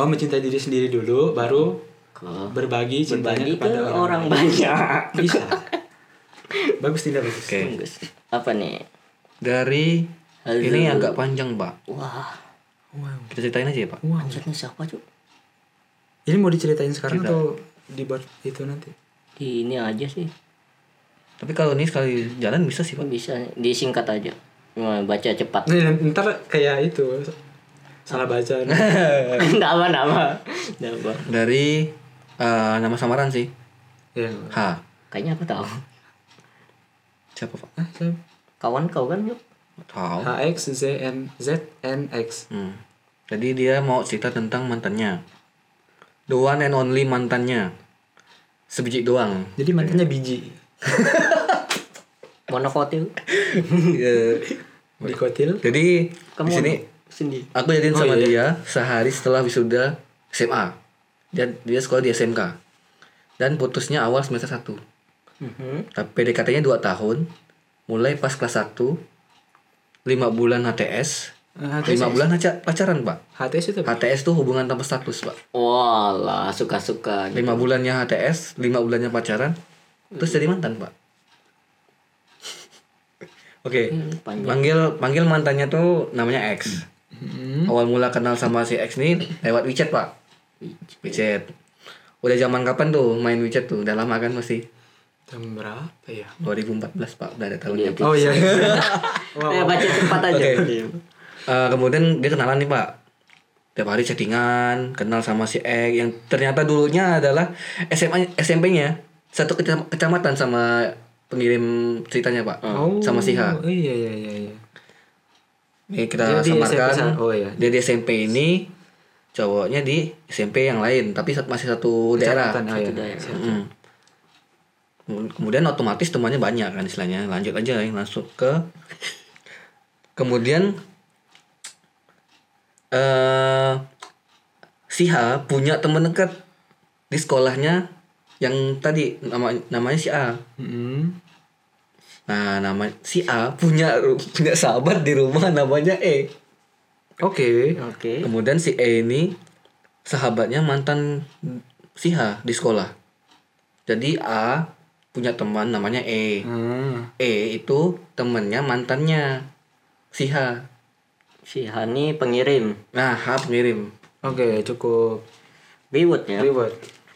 Speaker 1: oh mencintai diri sendiri dulu baru
Speaker 3: ke
Speaker 1: berbagi cintanya
Speaker 3: berbagi ke
Speaker 1: kepada orang,
Speaker 3: orang banyak
Speaker 1: bisa bagus tidak bagus
Speaker 2: Oke.
Speaker 3: Bagus. apa nih
Speaker 2: dari
Speaker 3: Halo.
Speaker 2: ini agak panjang pak
Speaker 3: wah
Speaker 1: wow
Speaker 2: kita ceritain aja ya pak
Speaker 1: wow
Speaker 3: maksudnya siapa cuy
Speaker 1: Ini mau diceritain sekarang atau dibuat itu nanti?
Speaker 3: di ini aja sih
Speaker 2: tapi kalau ini sekali jalan bisa sih pak
Speaker 3: bisa disingkat aja Nah, baca cepat
Speaker 1: Nih, n- Iya, ntar kayak itu salah baca.
Speaker 3: Enggak apa, enggak apa. Enggak apa.
Speaker 2: dari eh, nama samaran sih
Speaker 1: ya.
Speaker 2: H
Speaker 3: Kayaknya aku tahu.
Speaker 2: siapa pak
Speaker 1: Ah, siapa?
Speaker 3: Kawan kau kan lu?
Speaker 2: Nggak tahu
Speaker 1: HX Z N Z N X.
Speaker 2: Hmm. Jadi dia mau cerita tentang mantannya. The one and only mantannya. Sebiji doang.
Speaker 1: Jadi mantannya biji
Speaker 3: Monokotil.
Speaker 2: Iya.
Speaker 1: di kotil.
Speaker 2: Jadi
Speaker 3: Kamu
Speaker 2: di sini
Speaker 3: sendiri.
Speaker 2: aku jadian sama dia sehari setelah wisuda SMA. Dan dia sekolah di SMK. Dan putusnya awal semester 1. Tapi PDKT-nya 2 tahun. Mulai pas kelas 1 5 bulan HTS.
Speaker 1: Ah, HTS.
Speaker 2: 5 bulan aja pacaran, Pak.
Speaker 1: HTS itu apa?
Speaker 2: HTS tuh hubungan tanpa status, Pak.
Speaker 3: Walah, suka-suka.
Speaker 2: lima bulannya HTS lima bulannya pacaran terus jadi mantan pak oke Hmm,
Speaker 3: panjang.
Speaker 2: panggil panggil mantannya tuh namanya X awal mula kenal sama si X nih lewat WeChat pak WeChat udah zaman kapan tuh main WeChat tuh udah lama kan masih
Speaker 1: Tahun berapa ya?
Speaker 2: Hmm. 2014 pak udah ada tahunnya
Speaker 3: Iya.
Speaker 2: Pak.
Speaker 1: Oh iya.
Speaker 3: Eh, baca cepat aja.
Speaker 2: Oke. Eh, kemudian dia kenalan nih pak tiap hari chattingan kenal sama si X yang ternyata dulunya adalah SMA SMP-nya satu kecam- kecamatan sama pengirim ceritanya pak
Speaker 1: Oh,
Speaker 2: sama si H
Speaker 1: Iya iya iya. iya. Dia
Speaker 2: ini kita
Speaker 1: di SMP
Speaker 2: samarkan
Speaker 1: sana. Oh, iya.
Speaker 2: dia di SMP ini cowoknya di SMP yang lain tapi sat- masih satu daerah
Speaker 1: Kecamatan, oh, iya.
Speaker 2: Mm. Hmm. Kemudian otomatis temannya banyak kan istilahnya. Lanjut aja yang langsung ke kemudian eh si H punya teman dekat di sekolahnya yang tadi nama namanya si A.
Speaker 1: Mm-mm.
Speaker 2: Nah, nama si A punya ru- punya sahabat di rumah namanya E.
Speaker 1: Oke.
Speaker 3: Oke.
Speaker 2: Kemudian si E ini sahabatnya mantan si H di sekolah. Jadi A punya teman namanya E.
Speaker 1: Hmm.
Speaker 2: E itu temennya mantannya si H.
Speaker 3: Si Hani pengirim.
Speaker 2: Nah, H pengirim.
Speaker 1: Oke cukup
Speaker 3: Reward ya.
Speaker 1: reward.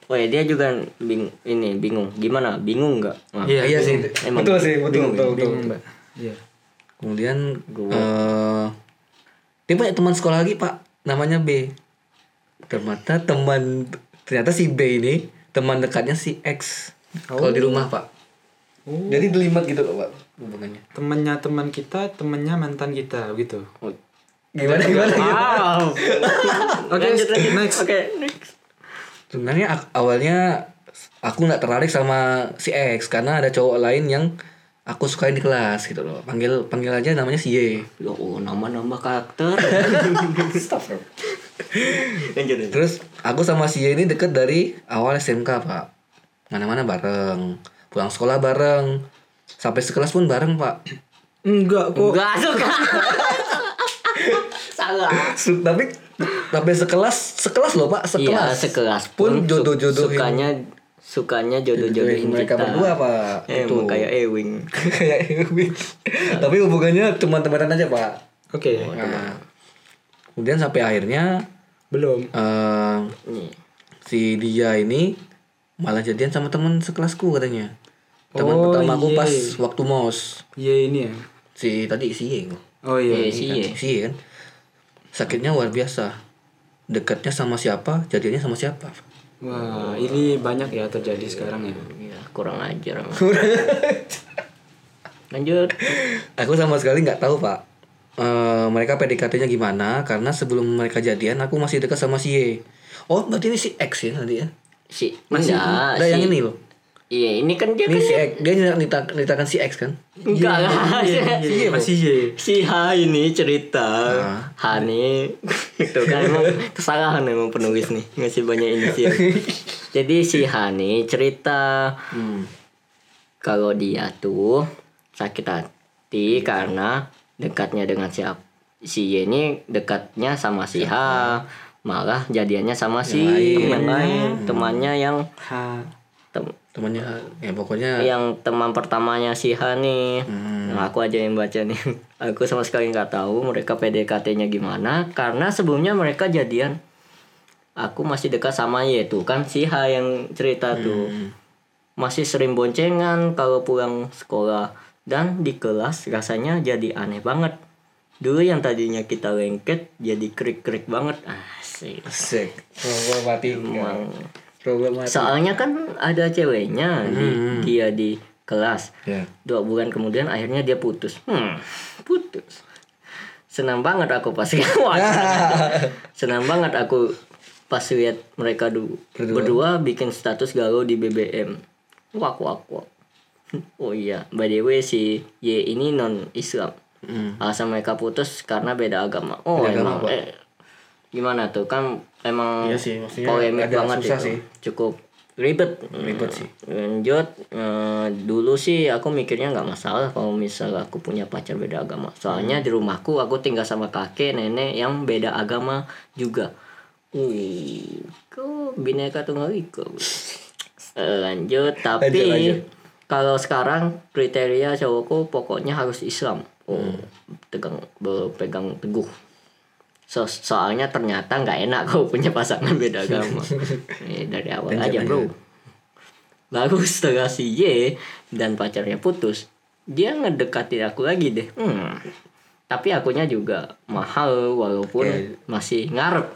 Speaker 3: Woi, dia juga bing ini bingung. Gimana? Bingung nggak? Nah,
Speaker 1: Iya,
Speaker 2: iya sih.
Speaker 3: Emang.
Speaker 2: Betul sih, betul, betul, betul.
Speaker 1: Bingung mbak. Iya.
Speaker 2: Kemudian eh, dia punya teman sekolah lagi, Pak. Namanya B. Ternyata teman ternyata si B ini teman dekatnya si X. Kalau di rumah, Pak.
Speaker 1: Oh.
Speaker 2: Jadi delimat gitu loh, Pak, hubungannya.
Speaker 1: Temennya teman kita, temennya mantan kita gitu.
Speaker 3: Oh.
Speaker 2: Gimana gimana?
Speaker 3: Wow.
Speaker 1: Oke, next.
Speaker 3: Oke, next.
Speaker 2: sebenarnya ak- awalnya aku nggak tertarik sama si X karena ada cowok lain yang aku sukain di kelas gitu loh panggil panggil aja namanya si Y
Speaker 3: Ya Allah, nama-nama karakter. Lanjut. lanjut.
Speaker 2: terus aku sama si Y ini deket dari awal SMK pak mana-mana bareng pulang sekolah bareng sampai sekelas pun bareng pak enggak kok
Speaker 3: Enggak suka. Salah.
Speaker 2: Se- tapi tapi sekelas sekelas loh pak
Speaker 3: Iya,
Speaker 2: sekelas
Speaker 3: sekelas
Speaker 2: pun
Speaker 3: su-
Speaker 2: jodoh-jodohin
Speaker 3: Sukanya sukanya jodoh-jodohin
Speaker 2: mereka
Speaker 3: kita.
Speaker 2: berdua pak
Speaker 3: Eh,
Speaker 2: Itu.
Speaker 3: emang kayak Ewing.
Speaker 2: kayak Ewing. tapi hubungannya cuma temenan aja pak
Speaker 1: Oke,
Speaker 2: nah, kemudian sampai akhirnya
Speaker 1: belum.
Speaker 2: eh,
Speaker 3: Nih.
Speaker 2: si dia ini malah jadian sama teman sekelasku katanya teman
Speaker 1: Oh,
Speaker 2: pertama aku
Speaker 1: iya.
Speaker 2: pas waktu mos
Speaker 1: Iya ini ya.
Speaker 2: si tadi si Ye kok.
Speaker 1: Oh iya.
Speaker 3: Iya sih. iya.
Speaker 2: si Ye kan sakitnya luar biasa dekatnya sama siapa jadiannya sama siapa
Speaker 1: Wah, ini banyak ya terjadi sekarang ya.
Speaker 3: Iya, kurang ajar. emang. Lanjut.
Speaker 2: aku sama sekali nggak tahu pak Eh, mereka PDKT-nya gimana karena sebelum mereka jadian aku masih dekat sama si Ye oh berarti ini si X ya tadi ya
Speaker 3: Si
Speaker 2: masih
Speaker 3: enggak,
Speaker 2: ada
Speaker 3: Ah, si-
Speaker 2: yang ini loh
Speaker 3: Iya, ini kan dia
Speaker 2: ini
Speaker 3: kan
Speaker 2: si X dia nyeritakan nyeritakan si X kan
Speaker 3: enggak lah.
Speaker 1: Iya, masih iya.
Speaker 3: si H ini cerita H ini itu kan emang kesalahan emang penulis nih ngasih banyak inisial jadi si H ini cerita kalau dia tuh sakit hati karena dekatnya dengan si A- si Y ini dekatnya sama si H malah jadiannya sama si teman lain temannya yang
Speaker 1: Ha.
Speaker 3: tem-
Speaker 2: temannya ya pokoknya
Speaker 3: yang teman pertamanya si Hani. Nah, aku aja yang baca nih. Aku sama sekali nggak tahu mereka PDKT-nya gimana karena sebelumnya mereka jadian. Aku masih dekat sama Y tuh kan si H yang cerita tuh. Masih sering boncengan kalau pulang sekolah dan di kelas rasanya jadi aneh banget. Dulu yang tadinya kita lengket jadi krik-krik banget. Asik.
Speaker 2: Asik. Problematika.
Speaker 3: Iya.
Speaker 2: Problematika.
Speaker 3: Soalnya kan ada ceweknya di- dia di kelas.
Speaker 2: Ya.
Speaker 3: Dua bulan kemudian akhirnya dia putus. Hmm, putus. Senang banget aku pas Senang banget aku pas lihat mereka du- berdua. bikin status galau di BBM. Wak wak wak. Oh iya, by the way si Y ini non Islam. Alasan mereka putus karena beda agama. Oh
Speaker 2: Hmm. Beda
Speaker 3: emang
Speaker 2: agama, Pak.
Speaker 3: eh, gimana tuh kan emang
Speaker 2: Iya sih, maksudnya
Speaker 3: polemik
Speaker 2: agak
Speaker 3: banget
Speaker 2: susah
Speaker 3: itu.
Speaker 2: sih.
Speaker 3: Cukup ribet.
Speaker 2: Ribet sih.
Speaker 3: Lanjut eh, dulu sih aku mikirnya nggak masalah kalau misal aku punya pacar beda agama.
Speaker 2: Hmm.
Speaker 3: Soalnya di rumahku aku tinggal sama kakek nenek yang beda agama juga. Wih, kok bineka tunggal ika. Eh, Lanjut tapi
Speaker 2: Lanjut, lanjut.
Speaker 3: kalau sekarang kriteria cowokku pokoknya harus Islam. Oh,
Speaker 2: Hmm.
Speaker 3: tegang berpegang teguh. So, soalnya ternyata nggak enak kau punya pasangan beda agama. Eh, dari awal aja bro. Baru setelah si Y dan pacarnya putus, dia ngedekatin aku lagi deh. Hmm. Tapi akunya juga mahal walaupun
Speaker 2: Ya.
Speaker 3: masih ngarep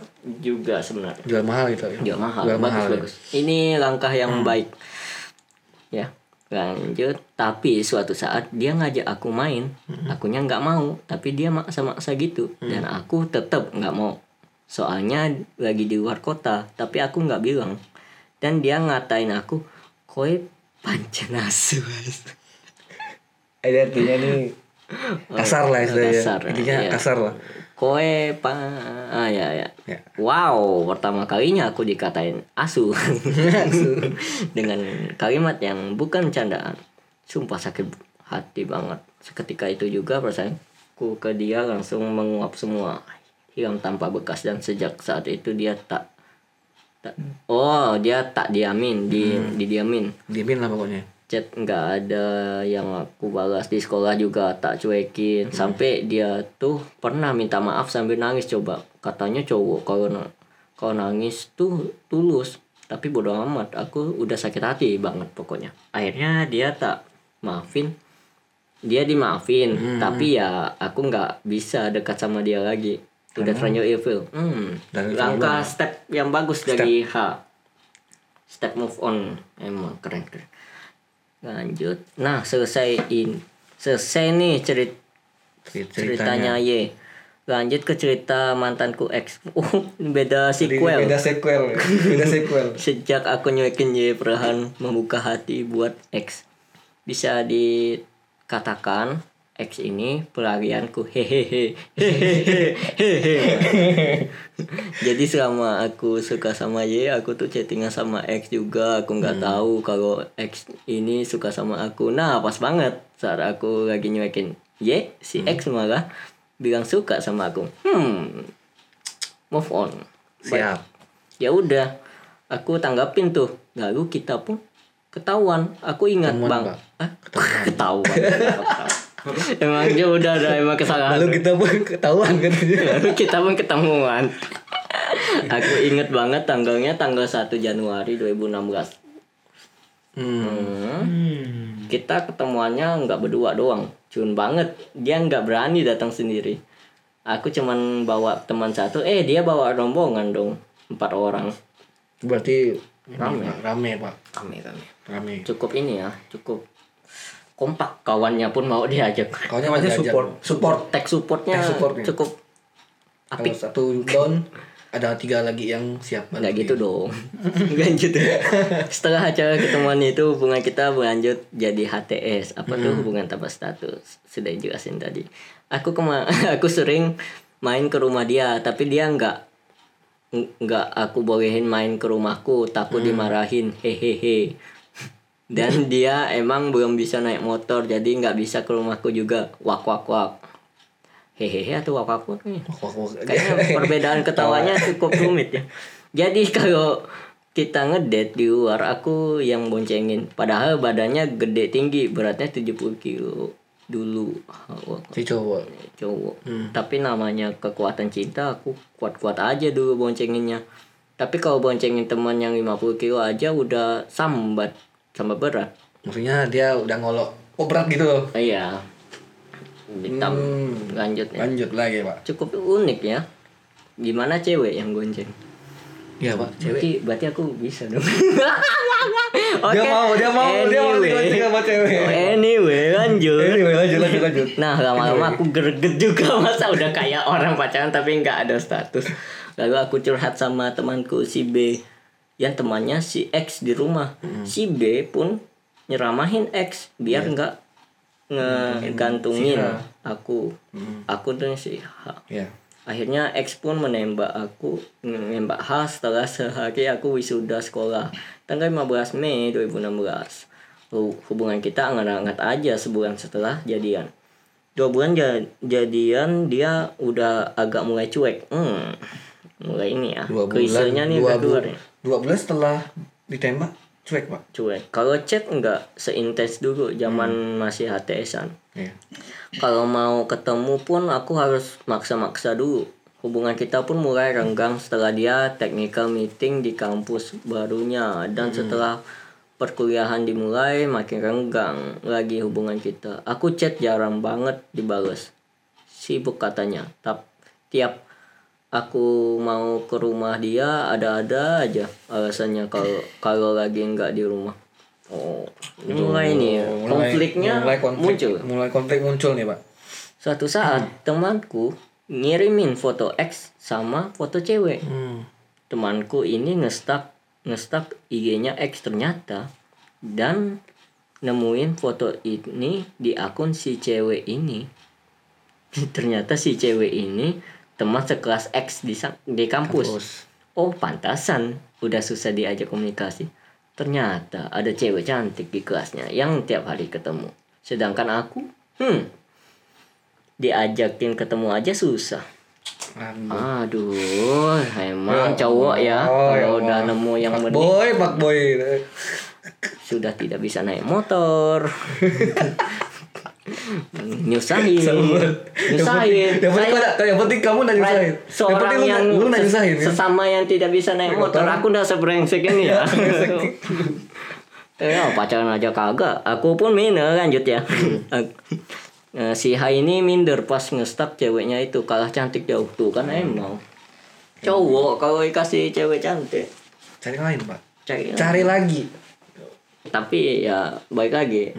Speaker 3: juga sebenarnya.
Speaker 2: Jual mahal gitu. ya?
Speaker 3: Juga mahal.
Speaker 2: Jual
Speaker 3: bagus,
Speaker 2: mahal. ya? Hmm.
Speaker 3: bagus. Ini langkah yang baik. Ya, lanjut. Tapi suatu saat dia ngajak aku main,
Speaker 2: Hmm.
Speaker 3: akunya nggak mau. Tapi dia maksa-maksa gitu, dan aku tetap nggak mau. Soalnya lagi di luar kota, tapi aku nggak bilang. Dan dia ngatain aku, koe pancen asu."
Speaker 2: Ada eh, artinya nih Eh, kasar lah istilahnya.
Speaker 3: Oh, Kasar,
Speaker 2: Intinya
Speaker 3: iya.
Speaker 2: kasar lah.
Speaker 3: Koe pa ah, ya, ya.
Speaker 2: Ya.
Speaker 3: Wow, pertama kalinya aku dikatain asu. Dengan kalimat yang bukan candaan. Sumpah sakit hati banget. Seketika itu juga perasaanku ke dia langsung menguap semua. Hilang tanpa bekas dan sejak saat itu dia tak tak- Oh, dia tak diamin, di didiamin
Speaker 2: Diemin lah pokoknya.
Speaker 3: chat nggak ada yang aku balas di sekolah juga tak cuekin sampai dia tuh pernah minta maaf sambil nangis coba katanya cowok kalau na- kalau nangis tuh tulus tapi bodoh amat aku udah sakit hati banget pokoknya akhirnya dia tak maafin dia dimaafin tapi ya aku nggak bisa dekat sama dia lagi udah terlanjur evil hmm.
Speaker 2: Dan itu
Speaker 3: langkah step yang bagus dari H step move on emang keren keren lanjut nah selesai in selesai nih cerit
Speaker 2: Cerit-
Speaker 3: ceritanya, Y lanjut ke cerita mantanku X oh beda
Speaker 2: Jadi
Speaker 3: sequel
Speaker 2: Beda sequel. ya. Beda sequel.
Speaker 3: Sejak aku nyuekin Y Perhan membuka hati buat X. Bisa dikatakan X ini pelarianku hehehe hehehe hehehe. Jadi selama aku suka sama Y, aku tuh chattingan sama X juga. Aku nggak tahu kalau X ini suka sama aku. Nah pas banget saat aku lagi nyuekin Y, si X malah bilang suka sama aku. Hmm, move on.
Speaker 2: Siap.
Speaker 3: Ya udah, aku tanggapin tuh. Lalu kita pun ketahuan. Aku ingat
Speaker 2: Ketemuan,
Speaker 3: bang.
Speaker 2: Pak.
Speaker 3: Hah? Ketahuan. ketahuan. emang dia udah ada emang kesalahan.
Speaker 2: Lalu kita pun ketahuan kan? katanya.
Speaker 3: Lalu kita pun ketemuan. aku inget banget tanggalnya tanggal 1 Januari 2016.
Speaker 2: Hmm.
Speaker 3: Hmm. Kita ketemuannya nggak berdua doang. Cun banget. Dia nggak berani datang sendiri. Aku cuman bawa teman satu. Eh dia bawa rombongan dong. Empat orang.
Speaker 2: Berarti rame, rame pak,
Speaker 3: Rame rame.
Speaker 2: rame.
Speaker 3: Cukup ini ya. Cukup kompak. Kawannya pun mau diajak.
Speaker 2: Kawannya
Speaker 3: Kawannya
Speaker 2: diajak.
Speaker 3: support.
Speaker 2: Support.
Speaker 3: Tech supportnya
Speaker 2: Tech supportnya.
Speaker 3: cukup
Speaker 2: Kalau
Speaker 3: apik.
Speaker 2: satu down ada tiga lagi yang siap.
Speaker 3: Nggak gitu dong Lanjut Setelah acara ketemuan itu Hubungan kita berlanjut Jadi HTS Apa tuh hubungan tanpa status Sudah jelasin tadi Aku kema aku sering Main ke rumah dia Tapi dia nggak nggak aku bolehin main ke rumahku takut dimarahin hehehe dan dia emang belum bisa naik motor jadi nggak bisa ke rumahku juga wak wak wak hehehe atau wak wak wak nih
Speaker 2: Wah, wah, Iya.
Speaker 3: kayaknya perbedaan ketawanya cukup rumit ya jadi kalau kita ngedate di luar aku yang boncengin padahal badannya gede tinggi beratnya 70 kilo dulu
Speaker 2: Si cowok.
Speaker 3: cowok tapi namanya kekuatan cinta aku kuat-kuat aja dulu boncenginnya tapi kalau boncengin teman yang 50 kilo aja udah sambat sama berat
Speaker 2: Maksudnya dia udah ngolok. Oh berat gitu loh.
Speaker 3: iya hitam
Speaker 2: Hmm.
Speaker 3: lanjut ya.
Speaker 2: Lanjut lagi pak.
Speaker 3: cukup unik ya gimana cewek yang gonceng
Speaker 2: Iya pak. Cewek.
Speaker 3: Berarti, berarti aku bisa dong.
Speaker 2: Dia mau, dia mau, dia mau digonceng sama cewek.
Speaker 3: Anyway, lanjut.
Speaker 2: Anyway, lanjut lanjut lanjut.
Speaker 3: Nah, lama-lama aku greget juga masa udah kayak orang pacaran tapi nggak ada status. Lalu aku curhat sama temanku si B yang temannya si X di rumah.
Speaker 2: Hmm.
Speaker 3: Si B pun nyeramahin X biar nggak ngegantungin
Speaker 2: Iya. Hmm, Si H. Hmm.
Speaker 3: aku. Aku tuh si H.
Speaker 2: Iya.
Speaker 3: Akhirnya X pun menembak aku, menembak H setelah sehari aku wisuda sekolah. Tanggal 15 Mei 2016. Hu- Hubungan kita angat-angat aja sebulan setelah jadian. Dua bulan ja- jadian dia udah agak mulai cuek. Hmm, mulai ini ya.
Speaker 2: Dua bulan.
Speaker 3: Krisisnya
Speaker 2: dua,
Speaker 3: nih udah
Speaker 2: bu
Speaker 3: keluar ya.
Speaker 2: dua bulan setelah ditembak cuek pak.
Speaker 3: Cuek. Kalau chat nggak seintens dulu zaman masih HTS-an.
Speaker 2: Iya.
Speaker 3: kalau mau ketemu pun aku harus maksa-maksa dulu. Hubungan kita pun mulai renggang setelah dia technical meeting di kampus barunya
Speaker 2: Hmm.
Speaker 3: dan setelah perkuliahan dimulai makin renggang lagi hubungan kita. Aku chat jarang banget dibales. Sibuk katanya. Tap, tiap aku mau ke rumah dia ada-ada aja alasannya kalau kalau lagi nggak di rumah. Oh, ini mulai nih ya.
Speaker 2: Oh, Mulai-
Speaker 3: konfliknya
Speaker 2: mulai konflik,
Speaker 3: muncul.
Speaker 2: Mulai konflik muncul nih pak.
Speaker 3: Suatu saat temanku ngirimin foto X sama foto cewek.
Speaker 2: Hmm.
Speaker 3: Temanku ini ngestak ngestak IG-nya X ternyata dan nemuin foto ini di akun si cewek ini. ternyata si cewek ini teman sekelas X di sa- di kampus.
Speaker 2: Terus.
Speaker 3: Oh, pantasan udah susah diajak komunikasi. Ternyata ada cewek cantik di kelasnya yang tiap hari ketemu. Sedangkan aku, hmm, diajakin ketemu aja susah.
Speaker 2: Aduh.
Speaker 3: Aduh, emang cowok ya
Speaker 2: Oh, ya
Speaker 3: kalau udah
Speaker 2: Allah.
Speaker 3: nemu yang
Speaker 2: Pak
Speaker 3: bening
Speaker 2: boy, pak boy.
Speaker 3: sudah tidak bisa naik motor. nyusahin, nyusahin.
Speaker 2: Yang penting,
Speaker 3: Saya-
Speaker 2: kau- yang penting kamu nanya
Speaker 3: Fred,
Speaker 2: nyusahin. Yang
Speaker 3: seorang
Speaker 2: penting lu-
Speaker 3: yang
Speaker 2: lu nanya
Speaker 3: ses-
Speaker 2: nyusahin. ya?
Speaker 3: sesama yang tidak bisa naik motor aku udah sebrengsek ini ya eh pacaran aja kagak aku pun minder lanjut ya Eh, si Hai ini minder pas ngestak ceweknya itu kalah cantik jauh tuh kan emang cowok kalau dikasih cewek cantik
Speaker 2: Cari lain pak.
Speaker 3: cari
Speaker 2: Cari lagi.
Speaker 3: tapi ya baik lagi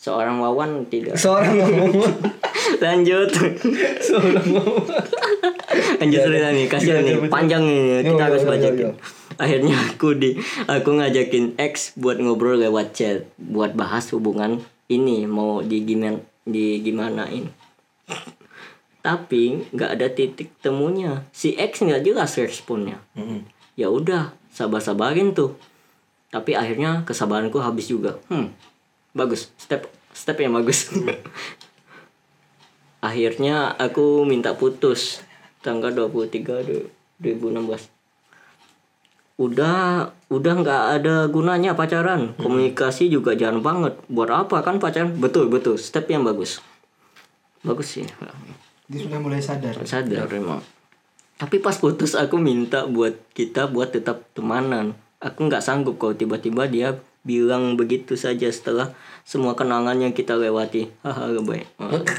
Speaker 3: seorang wawan tidak
Speaker 2: Seorang ngomong.
Speaker 3: lanjut lanjut cerita nih
Speaker 2: Iya,
Speaker 3: kasihan nih
Speaker 2: iya,
Speaker 3: panjang nih
Speaker 2: Iya,
Speaker 3: kita
Speaker 2: iya,
Speaker 3: harus
Speaker 2: iya,
Speaker 3: bacain
Speaker 2: iya.
Speaker 3: akhirnya aku di aku ngajakin ex buat ngobrol lewat chat buat bahas hubungan ini mau di gimana di gimanain tapi nggak ada titik temunya si X nggak jelas responnya
Speaker 2: Mm-mm.
Speaker 3: ya udah sabar sabarin tuh tapi akhirnya kesabaranku habis juga hmm bagus step step yang bagus akhirnya aku minta putus tanggal 23 du- 2016 udah udah nggak ada gunanya pacaran komunikasi juga jarang banget buat apa kan pacaran betul betul step yang bagus bagus sih
Speaker 4: Dia sudah mulai sadar.
Speaker 3: sadar emang tapi pas putus aku minta buat kita buat tetap temanan aku nggak sanggup kalau tiba-tiba dia bilang begitu saja setelah semua kenangan yang kita lewati haha gak baik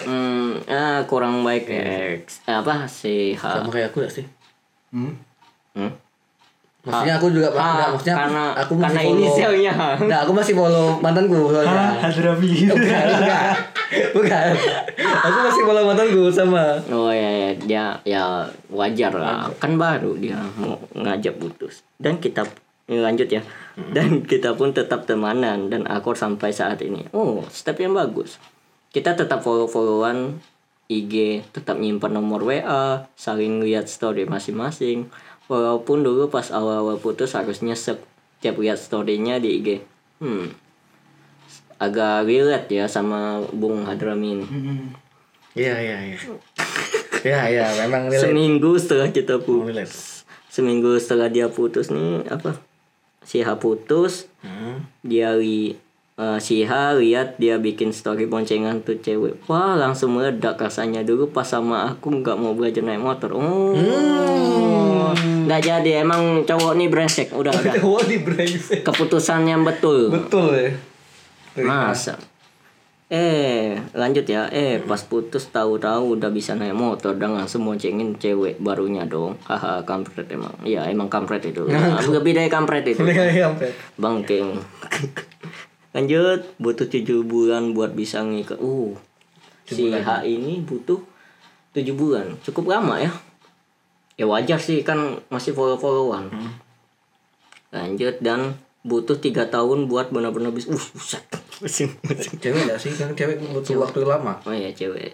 Speaker 3: hmm, ah kurang baik X apa sih ha
Speaker 2: sama kayak aku gak sih
Speaker 4: Hmm?
Speaker 3: Hmm?
Speaker 2: maksudnya aku juga
Speaker 3: Ah,
Speaker 2: nggak, maksudnya aku-
Speaker 3: karena
Speaker 2: aku masih
Speaker 3: karena
Speaker 2: follow-
Speaker 3: inisialnya ha.
Speaker 2: Nah, aku masih follow mantanku soalnya.
Speaker 4: Ah, Hadrami.
Speaker 2: Bukan. Bukan. Aku masih follow mantanku sama.
Speaker 3: Oh ya, ya dia ya wajar lah. Kan baru dia mau ngajak putus. Dan kita ini lanjut ya. Dan kita pun tetap temanan dan akur sampai saat ini. Oh, step yang bagus. Kita tetap follow-followan IG, tetap nyimpan nomor WA, saling lihat story masing-masing. Walaupun dulu pas awal-awal putus harus nyesek tiap lihat storynya di IG. Hmm. Agak relate ya sama Bung Hadramin.
Speaker 2: Iya, iya, iya. Iya, iya, memang relate.
Speaker 3: Seminggu setelah kita
Speaker 2: Memang
Speaker 3: putus
Speaker 2: relate.
Speaker 3: seminggu setelah dia putus nih apa si H putus
Speaker 2: Hmm.
Speaker 3: dia li eh, si H lihat dia bikin story boncengan tuh cewek wah langsung meledak rasanya dulu pas sama aku nggak mau belajar naik motor oh nggak jadi emang cowok nih brengsek udah udah
Speaker 2: Cowok di brengsek.
Speaker 3: keputusan yang betul
Speaker 2: Betul ya.
Speaker 3: Masa? Eh, lanjut ya. Eh, pas putus tahu-tahu udah bisa naik motor dan langsung boncengin cewek barunya dong. Haha, kampret emang. Ya, emang kampret itu. Nah, lebih dari kampret itu.
Speaker 2: Boleh kali sampai.
Speaker 3: Bangking. lanjut, butuh 7 bulan buat bisa nikah. Uh. Si H ini butuh 7 bulan. Cukup lama ya. Ya wajar sih kan masih follow-followan. Lanjut dan butuh tiga tahun buat benar-benar bisa uh buset. Pusing, pusing.
Speaker 2: Cewek gak sih? Kan cewek butuh waktu lama.
Speaker 3: Oh ya cewek,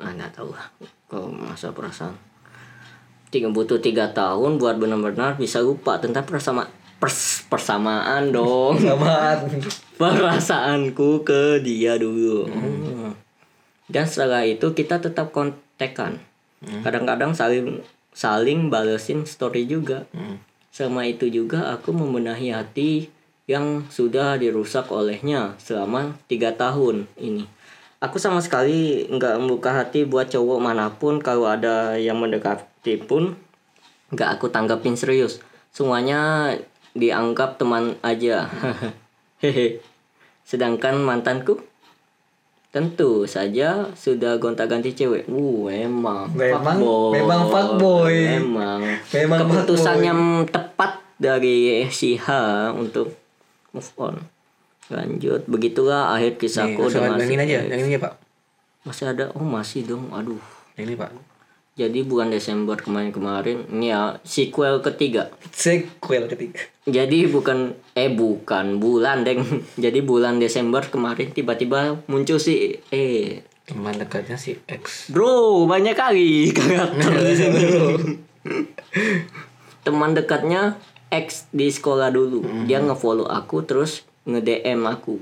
Speaker 3: ah nggak tahu lah. Kok masa perasaan? Tiga butuh tiga tahun buat benar-benar bisa lupa tentang persama pers persamaan dong.
Speaker 2: Lamaan.
Speaker 3: Perasaanku ke dia dulu. Oh. Dan setelah itu kita tetap kontekan. Kadang-kadang saling saling balesin story juga. Sama itu juga aku membenahi hati yang sudah dirusak olehnya selama tiga tahun ini. Aku sama sekali nggak membuka hati buat cowok manapun kalau ada yang mendekati pun nggak aku tanggapin serius. Semuanya dianggap teman aja. Hehe. Sedangkan mantanku tentu saja sudah gonta-ganti cewek. Uh, emang.
Speaker 2: Memang-
Speaker 3: fuckboy.
Speaker 2: memang fuckboy.
Speaker 3: Emang
Speaker 2: Memang
Speaker 3: keputusan
Speaker 2: fuckboy.
Speaker 3: yang tepat dari si H untuk move on lanjut begitulah
Speaker 2: Nih,
Speaker 3: akhir kisahku
Speaker 2: langsung
Speaker 3: dengan
Speaker 2: yang
Speaker 3: si
Speaker 2: ini aja,
Speaker 3: X.
Speaker 2: yang ini ya, Pak.
Speaker 3: masih ada oh masih dong aduh
Speaker 2: Yang ini, Pak.
Speaker 3: jadi bulan Desember kemarin-kemarin ini ya sequel ketiga
Speaker 2: Sequel ketiga.
Speaker 3: jadi bukan eh bukan bulan deng jadi bulan Desember kemarin tiba-tiba muncul si eh
Speaker 2: Teman dekatnya si X.
Speaker 3: Bro, banyak kali karakter di sini. Teman dekatnya ex di sekolah dulu. Dia ngefollow aku terus nge-DM aku.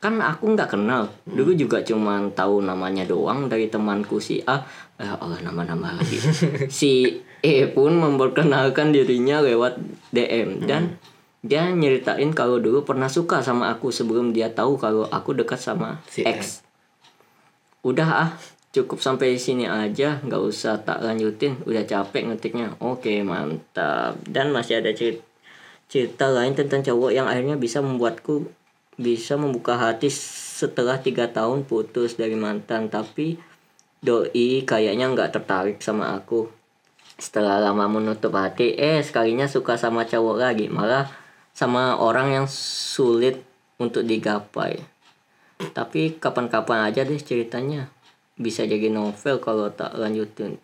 Speaker 3: Kan aku nggak kenal. Dulu juga cuman tahu namanya doang dari temanku si A. Eh, Allah nama-nama lagi. si E pun memperkenalkan dirinya lewat DM dan dia nyeritain kalau dulu pernah suka sama aku sebelum dia tahu kalau aku dekat sama
Speaker 2: Si
Speaker 3: X udah ah cukup sampai sini aja nggak usah tak lanjutin udah capek ngetiknya oke mantap dan masih ada cerita cerita lain tentang cowok yang akhirnya bisa membuatku bisa membuka hati setelah tiga tahun putus dari mantan tapi doi kayaknya nggak tertarik sama aku setelah lama menutup hati eh sekalinya suka sama cowok lagi malah sama orang yang sulit untuk digapai tapi kapan-kapan aja deh ceritanya bisa jadi novel kalau tak lanjutin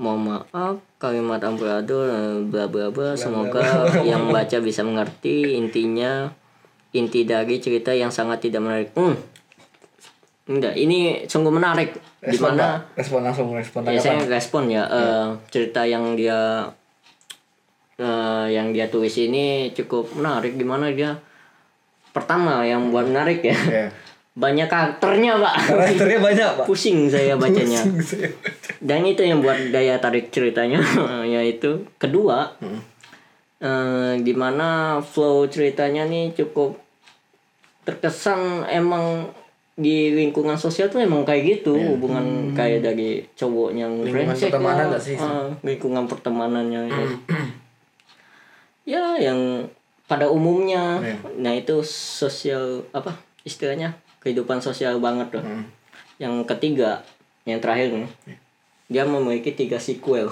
Speaker 3: mau maaf kalimat amburadul eh, bla bla bla semoga yang baca bisa mengerti intinya inti dari cerita yang sangat tidak menarik hmm. Enggak, ini sungguh menarik.
Speaker 2: Respon, Pak.
Speaker 3: Dimana
Speaker 2: Respon langsung, respon
Speaker 3: ya, saya
Speaker 2: tanggapan.
Speaker 3: respon
Speaker 2: Iya.
Speaker 3: ya eh, cerita yang dia eh, yang dia tulis ini cukup menarik. Gimana dia pertama yang buat menarik ya.
Speaker 2: Iya.
Speaker 3: Banyak karakternya pak.
Speaker 2: Karakternya banyak, Pak.
Speaker 3: Pusing saya bacanya.
Speaker 2: Pusing saya.
Speaker 3: Dan itu yang buat daya tarik ceritanya yaitu kedua
Speaker 2: Hmm.
Speaker 3: eh, dimana flow ceritanya nih cukup terkesan emang di lingkungan sosial tuh emang kayak gitu hubungan kayak dari
Speaker 2: Iya.
Speaker 3: cowoknya
Speaker 2: Hmm. Lingkungan
Speaker 3: brengsek
Speaker 2: pertemanan
Speaker 3: lah,
Speaker 2: nggak sih? Hmm.
Speaker 3: eh, lingkungan pertemanannya ya. ya yang pada umumnya
Speaker 2: Iya.
Speaker 3: nah itu sosial apa istilahnya kehidupan sosial banget loh
Speaker 2: Hmm.
Speaker 3: yang ketiga yang terakhir nih
Speaker 2: Iya.
Speaker 3: dia memiliki tiga sequel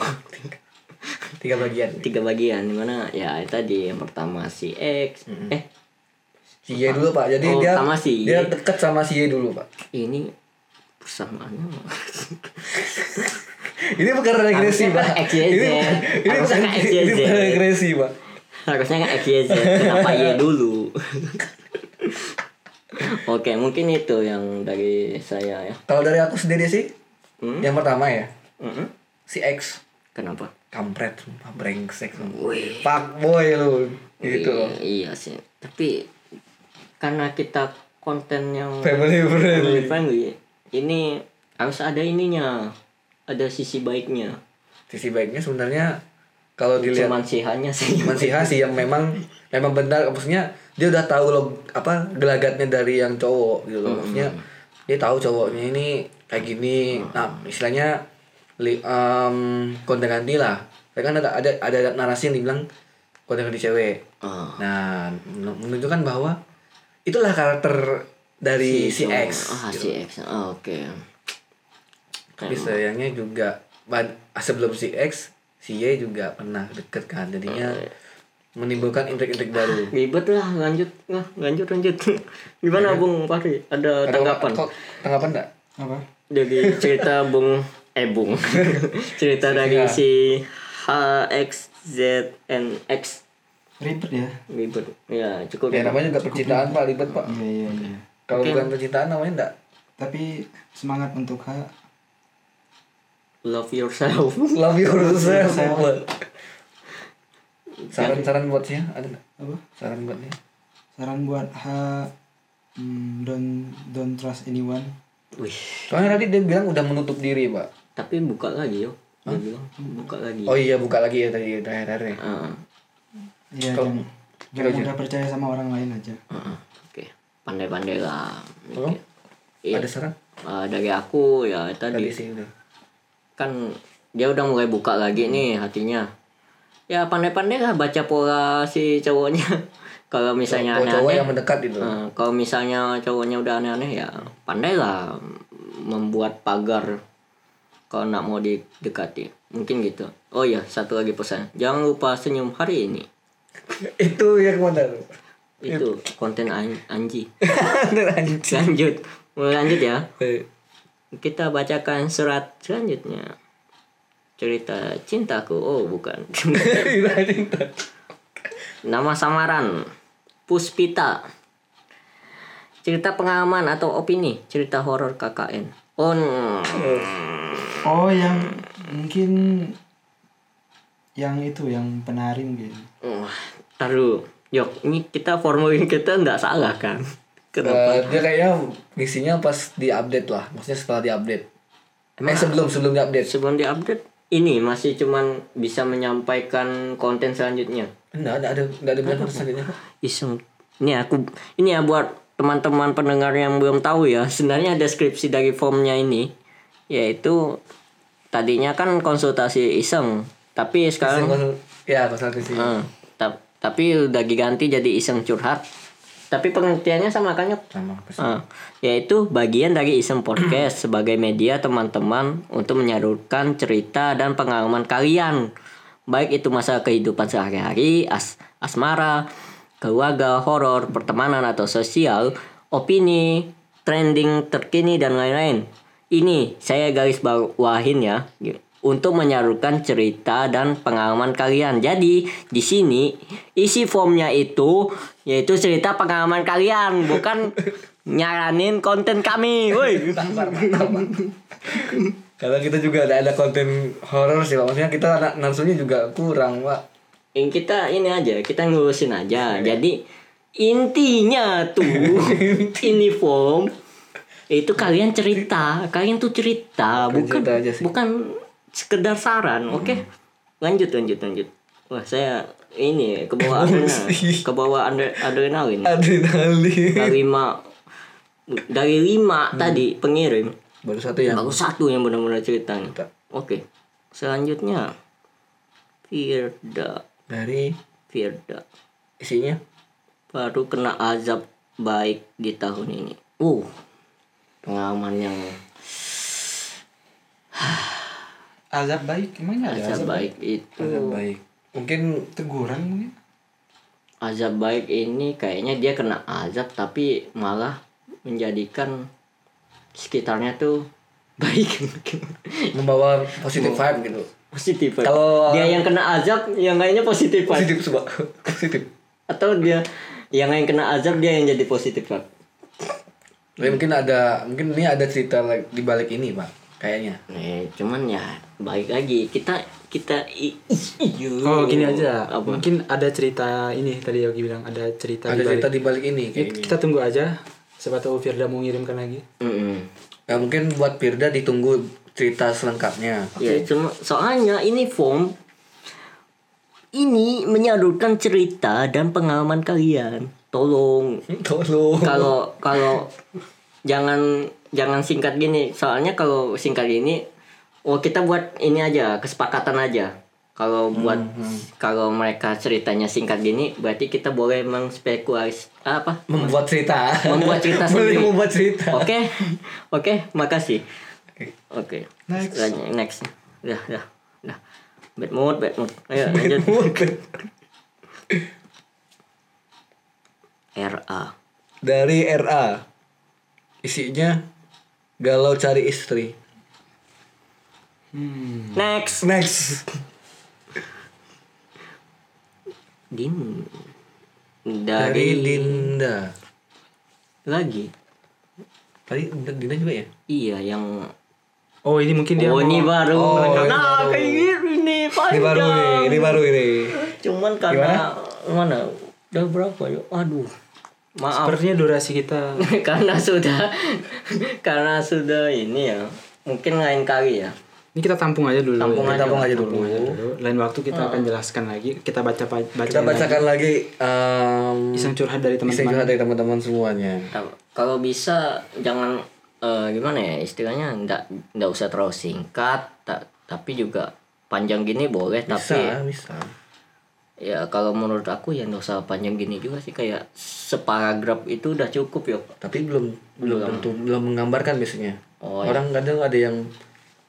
Speaker 2: Tiga bagian.
Speaker 3: tiga bagian dimana ya tadi yang pertama si X eh
Speaker 2: Si Y dulu, Pak. Jadi
Speaker 3: Oh,
Speaker 2: dia
Speaker 3: sama si Y.
Speaker 2: dia dekat sama si Y dulu, Pak.
Speaker 3: ini persamaannya
Speaker 2: Ini bukan regresi,
Speaker 3: Harusnya kan
Speaker 2: Pak.
Speaker 3: X, Y, Z.
Speaker 2: Ini bukan ini
Speaker 3: Harusnya
Speaker 2: bukan
Speaker 3: kan X, Y,
Speaker 2: ini bukan
Speaker 3: Z.
Speaker 2: regresi, Pak.
Speaker 3: harusnya kan X Y Z kenapa Y dulu oke mungkin itu yang dari saya ya
Speaker 2: Kalau dari aku sendiri sih,
Speaker 3: Hmm.
Speaker 2: yang pertama ya,
Speaker 3: Mm-mm.
Speaker 2: si X
Speaker 3: kenapa
Speaker 2: kampret, sumpah, brengsek, pak boy lu, gitu loh.
Speaker 3: iya sih tapi karena kita konten yang
Speaker 2: Family friendly.
Speaker 3: family friendly ini harus ada ininya ada sisi baiknya
Speaker 2: Sisi baiknya sebenarnya kalau dilihat
Speaker 3: cuman sihannya sih
Speaker 2: cuman si H sih yang memang memang benar maksudnya dia udah tahu lo apa gelagatnya dari yang cowok gitu loh maksudnya dia tahu cowoknya ini kayak gini nah istilahnya li, em, konten ganti lah Tapi kan ada ada ada narasi yang dibilang konten ganti cewek
Speaker 3: Ah.
Speaker 2: nah men- menunjukkan bahwa itulah karakter dari si,
Speaker 3: cowok.
Speaker 2: X
Speaker 3: ah si X Ah, oke
Speaker 2: tapi sayangnya juga bad- sebelum si X si Y juga pernah deket kan jadinya menimbulkan intrik-intrik baru
Speaker 3: ribet lah lanjut lah lanjut lanjut gimana bung Fahri ada tanggapan
Speaker 2: Kok tanggapan enggak?
Speaker 4: Apa?
Speaker 3: dari cerita bung eh bung cerita dari si H X Z N X
Speaker 4: Ribet ya?
Speaker 3: ribet ya cukup
Speaker 2: Ya namanya juga percintaan Pak, ribet Pak.
Speaker 4: Iya, iya, iya.
Speaker 2: Kalau bukan percintaan namanya enggak.
Speaker 4: Tapi semangat untuk H.
Speaker 3: love yourself
Speaker 2: Love yourself. Pak. Saran-saran buat sih ada enggak?
Speaker 4: Apa?
Speaker 2: Saran buat nih.
Speaker 4: Saran buat H. hmm, don't don't trust anyone.
Speaker 3: wih
Speaker 2: Soalnya tadi dia bilang udah menutup diri, Pak.
Speaker 3: tapi buka lagi yo dia bilang buka lagi
Speaker 2: Oh iya, buka lagi ya tadi terakhir-terakhir.
Speaker 3: Ah,
Speaker 4: Iya,
Speaker 2: Kalau-
Speaker 4: jangan. Jangan mudah percaya sama orang lain aja.
Speaker 3: ah, ah. oke pandai-pandai lah
Speaker 2: Tolong.
Speaker 3: Iya.
Speaker 2: Oh. Ada saran?
Speaker 3: Ah, dari aku ya tadi
Speaker 2: Tadi sih udah.
Speaker 3: kan dia udah mulai buka lagi
Speaker 2: Hmm.
Speaker 3: nih hatinya ya pandai-pandai lah baca pola si cowoknya kalau misalnya
Speaker 2: Cowok- cowok
Speaker 3: aneh-aneh
Speaker 2: yang mendekat itu.
Speaker 3: eh, kalau misalnya cowoknya udah aneh-aneh ya pandai lah membuat pagar kalau nak mau didekati mungkin gitu oh iya satu lagi pesan jangan lupa senyum hari ini
Speaker 2: Itu yang mana? tuh?
Speaker 3: itu konten an- Anji
Speaker 2: Bener, anjing.
Speaker 3: lanjut Mau lanjut ya
Speaker 2: Eh,
Speaker 3: kita bacakan surat selanjutnya cerita cintaku oh bukan
Speaker 2: Tidak cinta.
Speaker 3: Nama samaran Puspita. Cerita pengalaman atau opini, cerita horor KKN. Oh, mm,
Speaker 4: Oh, yang mungkin yang itu yang penari mungkin.
Speaker 3: wah, taruh. Yok, ini kita formulin kita nggak salah kan? Kenapa?
Speaker 2: Eh, dia kayaknya isinya pas diupdate lah, maksudnya setelah diupdate. Eh sebelum sebelum diupdate.
Speaker 3: Sebelum diupdate, ini masih cuman bisa menyampaikan konten selanjutnya.
Speaker 2: Enggak ada ada enggak ada bilang selanjutnya.
Speaker 3: Iseng. Ini aku, ini ya buat teman-teman pendengar yang belum tahu ya. Sebenarnya deskripsi dari formnya ini, yaitu tadinya kan konsultasi iseng, tapi sekarang
Speaker 2: Ya, pasal ke sini.
Speaker 3: Eh, ta- tapi udah diganti jadi iseng curhat. Tapi pengertiannya sama kan Yop?
Speaker 2: Sama.
Speaker 3: Eh, yaitu bagian dari iseng podcast sebagai media teman-teman untuk menyalurkan cerita dan pengalaman kalian. Baik itu masa kehidupan sehari-hari, as- asmara, keluarga, horor, pertemanan atau sosial, opini, trending terkini dan lain-lain. Ini saya garis bawahin ya. untuk menyalurkan cerita dan pengalaman kalian. Jadi di sini isi formnya itu yaitu cerita pengalaman kalian, bukan nyaranin konten kami. Woi.
Speaker 2: Karena kita juga ada, ada konten horor sih, Pak. Maksudnya kita anak nafsunya juga kurang, Pak.
Speaker 3: Yang kita ini aja, kita ngurusin
Speaker 2: Iya.
Speaker 3: aja. Jadi intinya tuh ini form itu kalian cerita, kalian tuh cerita, bukan
Speaker 2: cerita aja sih. Hmm.
Speaker 3: bukan sekedar saran. Oke. Lanjut lanjut lanjut. Wah, saya ini kebawa adrenalin,
Speaker 2: Emosi.
Speaker 3: kebawa adre- adrenalin.
Speaker 2: Adrenalin.
Speaker 3: Dari lima dari
Speaker 2: Hmm.
Speaker 3: lima tadi pengirim
Speaker 2: Baru satu ya, yang
Speaker 3: baru satu yang benar-benar ceritanya.
Speaker 2: Cerita.
Speaker 3: Oke. Selanjutnya Firda
Speaker 2: dari
Speaker 3: Firda
Speaker 2: isinya.
Speaker 3: baru kena azab baik di tahun ini. Uh, pengalaman yang
Speaker 4: azab baik emangnya ada
Speaker 3: azab
Speaker 4: Iya, azab,
Speaker 3: baik itu
Speaker 2: Baik. Mungkin
Speaker 4: teguran mungkin
Speaker 3: azab baik ini kayaknya dia kena azab tapi malah menjadikan sekitarnya tuh baik
Speaker 2: membawa positif vibe gitu.
Speaker 3: positif ya.
Speaker 2: Kalau-
Speaker 3: dia yang kena azab yang kayaknya positif ya.
Speaker 2: Positif, Pak. Positif.
Speaker 3: atau dia yang yang kena azab dia yang jadi positif ya.
Speaker 2: Tapi mungkin ada mungkin ini ada cerita la- di balik ini, Pak. Kayaknya.
Speaker 3: eh, cuman ya baik lagi kita kita i- i-
Speaker 1: Oh gini aja,
Speaker 3: Apa?
Speaker 1: mungkin ada cerita ini tadi Yogi bilang ada cerita di
Speaker 2: ada
Speaker 1: balik.
Speaker 2: cerita di balik Iya. ini kayak
Speaker 1: Kita-
Speaker 2: gini.
Speaker 1: Kita tunggu aja, siapa tahu Firda mau ngirimkan lagi.
Speaker 3: Mm-mm.
Speaker 2: Ya, mungkin buat Pirda ditunggu cerita selengkapnya.
Speaker 3: Ya, cuma soalnya ini form ini menyalurkan cerita dan pengalaman kalian. Tolong
Speaker 2: Oh. Tolong.
Speaker 3: kalau kalau jangan jangan singkat gini. Soalnya kalau singkat gini, oh kita buat ini aja kesepakatan aja. Kalau buat kalau mereka ceritanya singkat gini, berarti kita boleh mengspekulas apa?
Speaker 2: Membuat cerita. Oh.
Speaker 3: Membuat cerita
Speaker 2: Boleh
Speaker 3: sendiri.
Speaker 2: membuat cerita.
Speaker 3: Oke, oke, makasih. Oke.
Speaker 4: Next.
Speaker 3: Lan- Next. Dah, dah, dah. Bad mood, bad mood. Ayo lanjut. RA.
Speaker 2: dari RA isinya galau cari istri
Speaker 3: Next.
Speaker 2: next
Speaker 3: Din.
Speaker 2: dari
Speaker 3: Dari,
Speaker 2: Dinda
Speaker 3: lagi.
Speaker 2: tadi Dinda juga ya
Speaker 3: Iya, yang
Speaker 1: Oh ini mungkin dia
Speaker 3: oh, ini
Speaker 1: mau-
Speaker 3: baru.
Speaker 2: Oh, ini
Speaker 3: nah,
Speaker 2: baru.
Speaker 3: kayak gini nih
Speaker 2: ini
Speaker 3: panjang.
Speaker 2: baru nih ini baru ini
Speaker 3: Cuman karena mana? Udah berapa yuk? Aduh. Maaf.
Speaker 1: Sepertinya durasi kita
Speaker 3: karena sudah karena sudah ini ya mungkin lain kali ya
Speaker 1: ini kita tampung aja dulu.
Speaker 3: Tampung
Speaker 1: ya.
Speaker 3: aja.
Speaker 2: tampung aja
Speaker 1: Tampung
Speaker 2: dulu
Speaker 1: aja dulu. Lain waktu kita akan jelaskan lagi. Oh. Kita baca baca.
Speaker 2: kita bacakan lagi um,
Speaker 1: Iseng curhat dari
Speaker 2: iseng
Speaker 1: teman-teman.
Speaker 2: curhat dari teman-teman semuanya
Speaker 3: Kalau- kalau bisa jangan eh, gimana ya istilahnya ndak ndak usah terlalu singkat ta- tapi juga panjang gini boleh
Speaker 2: bisa
Speaker 3: tapi
Speaker 2: bisa
Speaker 3: ya kalau menurut aku ya ndak usah panjang gini juga sih kayak separagraf itu udah cukup ya
Speaker 2: tapi belum belum tentu belum menggambarkan biasanya
Speaker 3: Oh, iya.
Speaker 2: orang kadang ada yang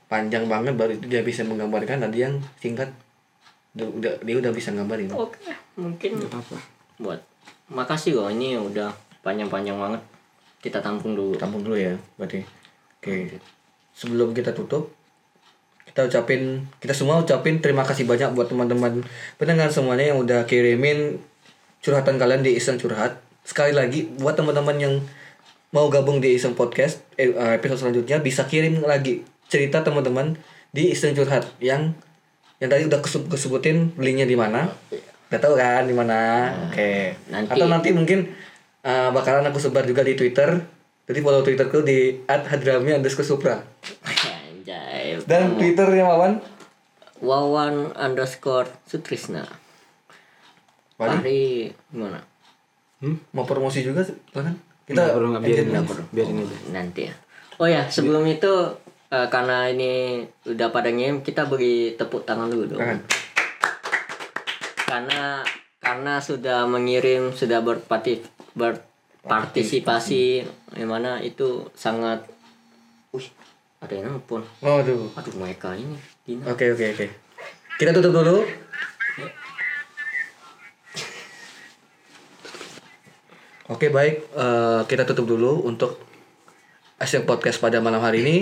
Speaker 2: panjang banget baru itu dia bisa menggambarkan ada yang singkat dia udah dia udah bisa gambarin
Speaker 3: oke mungkin
Speaker 1: Apa?
Speaker 3: buat makasih loh ini udah panjang-panjang banget kita tampung dulu
Speaker 2: tampung dulu ya berarti oke sebelum kita tutup kita ucapin kita semua ucapin terima kasih banyak buat teman-teman pendengar semuanya yang udah kirimin curhatan kalian di iseng curhat sekali lagi buat teman-teman yang mau gabung di iseng podcast eh, eh, episode selanjutnya bisa kirim lagi cerita teman-teman di iseng curhat yang yang tadi udah kesu- kesebutin linknya di mana udah tahu kan di mana oke
Speaker 3: nanti-
Speaker 2: atau nanti mungkin eh, bakalan aku sebar juga di twitter jadi follow twitterku di @hadrami underscore supra
Speaker 3: Anjay.
Speaker 2: dan twitternya Wawan
Speaker 3: Wawan underscore Sutrisna.
Speaker 2: Wawan
Speaker 3: Fahri gimana?
Speaker 2: Hmm? mau promosi juga kan
Speaker 1: Kita
Speaker 2: kita
Speaker 1: perlu nggak biarin
Speaker 2: agent-
Speaker 1: aja. Biarin aja.
Speaker 3: Nanti ya. Oh ya sebelum itu eh, karena ini udah pada ngirim kita beri tepuk tangan dulu dong.
Speaker 2: Tangan.
Speaker 3: Karena karena sudah mengirim sudah berparti berpartisipasi yang mana itu sangat. Wih ada yang nelfon.
Speaker 2: oh aduh
Speaker 3: Aduh mereka ini. Dina.
Speaker 2: oke oke oke kita tutup dulu oke baik Eh, kita tutup dulu untuk Asyik Podcast pada malam hari ini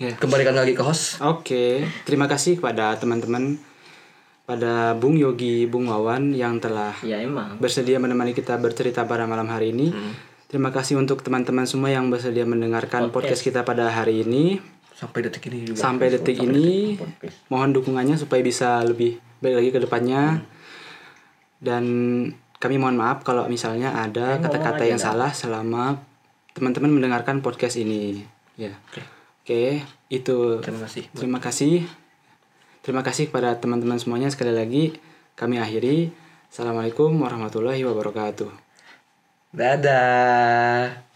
Speaker 1: Ya.
Speaker 2: Kembalikan lagi ke host.
Speaker 1: Oke, terima kasih kepada teman-teman, pada Bung Yogi, Bung Wawan yang telah
Speaker 3: Ya emang.
Speaker 1: bersedia menemani kita bercerita pada malam hari ini. Terima kasih untuk teman-teman semua yang bersedia mendengarkan podcast kita pada hari ini.
Speaker 2: Sampai detik ini juga.
Speaker 1: Sampai detik ini, mohon dukungannya supaya bisa lebih baik lagi ke depannya. Dan kami mohon maaf kalau misalnya ada kata-kata yang salah selama teman-teman mendengarkan podcast ini. Ya. Oke, itu
Speaker 2: Terima kasih.
Speaker 1: Terima kasih. Terima kasih kepada teman-teman semuanya sekali lagi. Kami akhiri. Assalamualaikum warahmatullahi wabarakatuh.
Speaker 2: Dadah.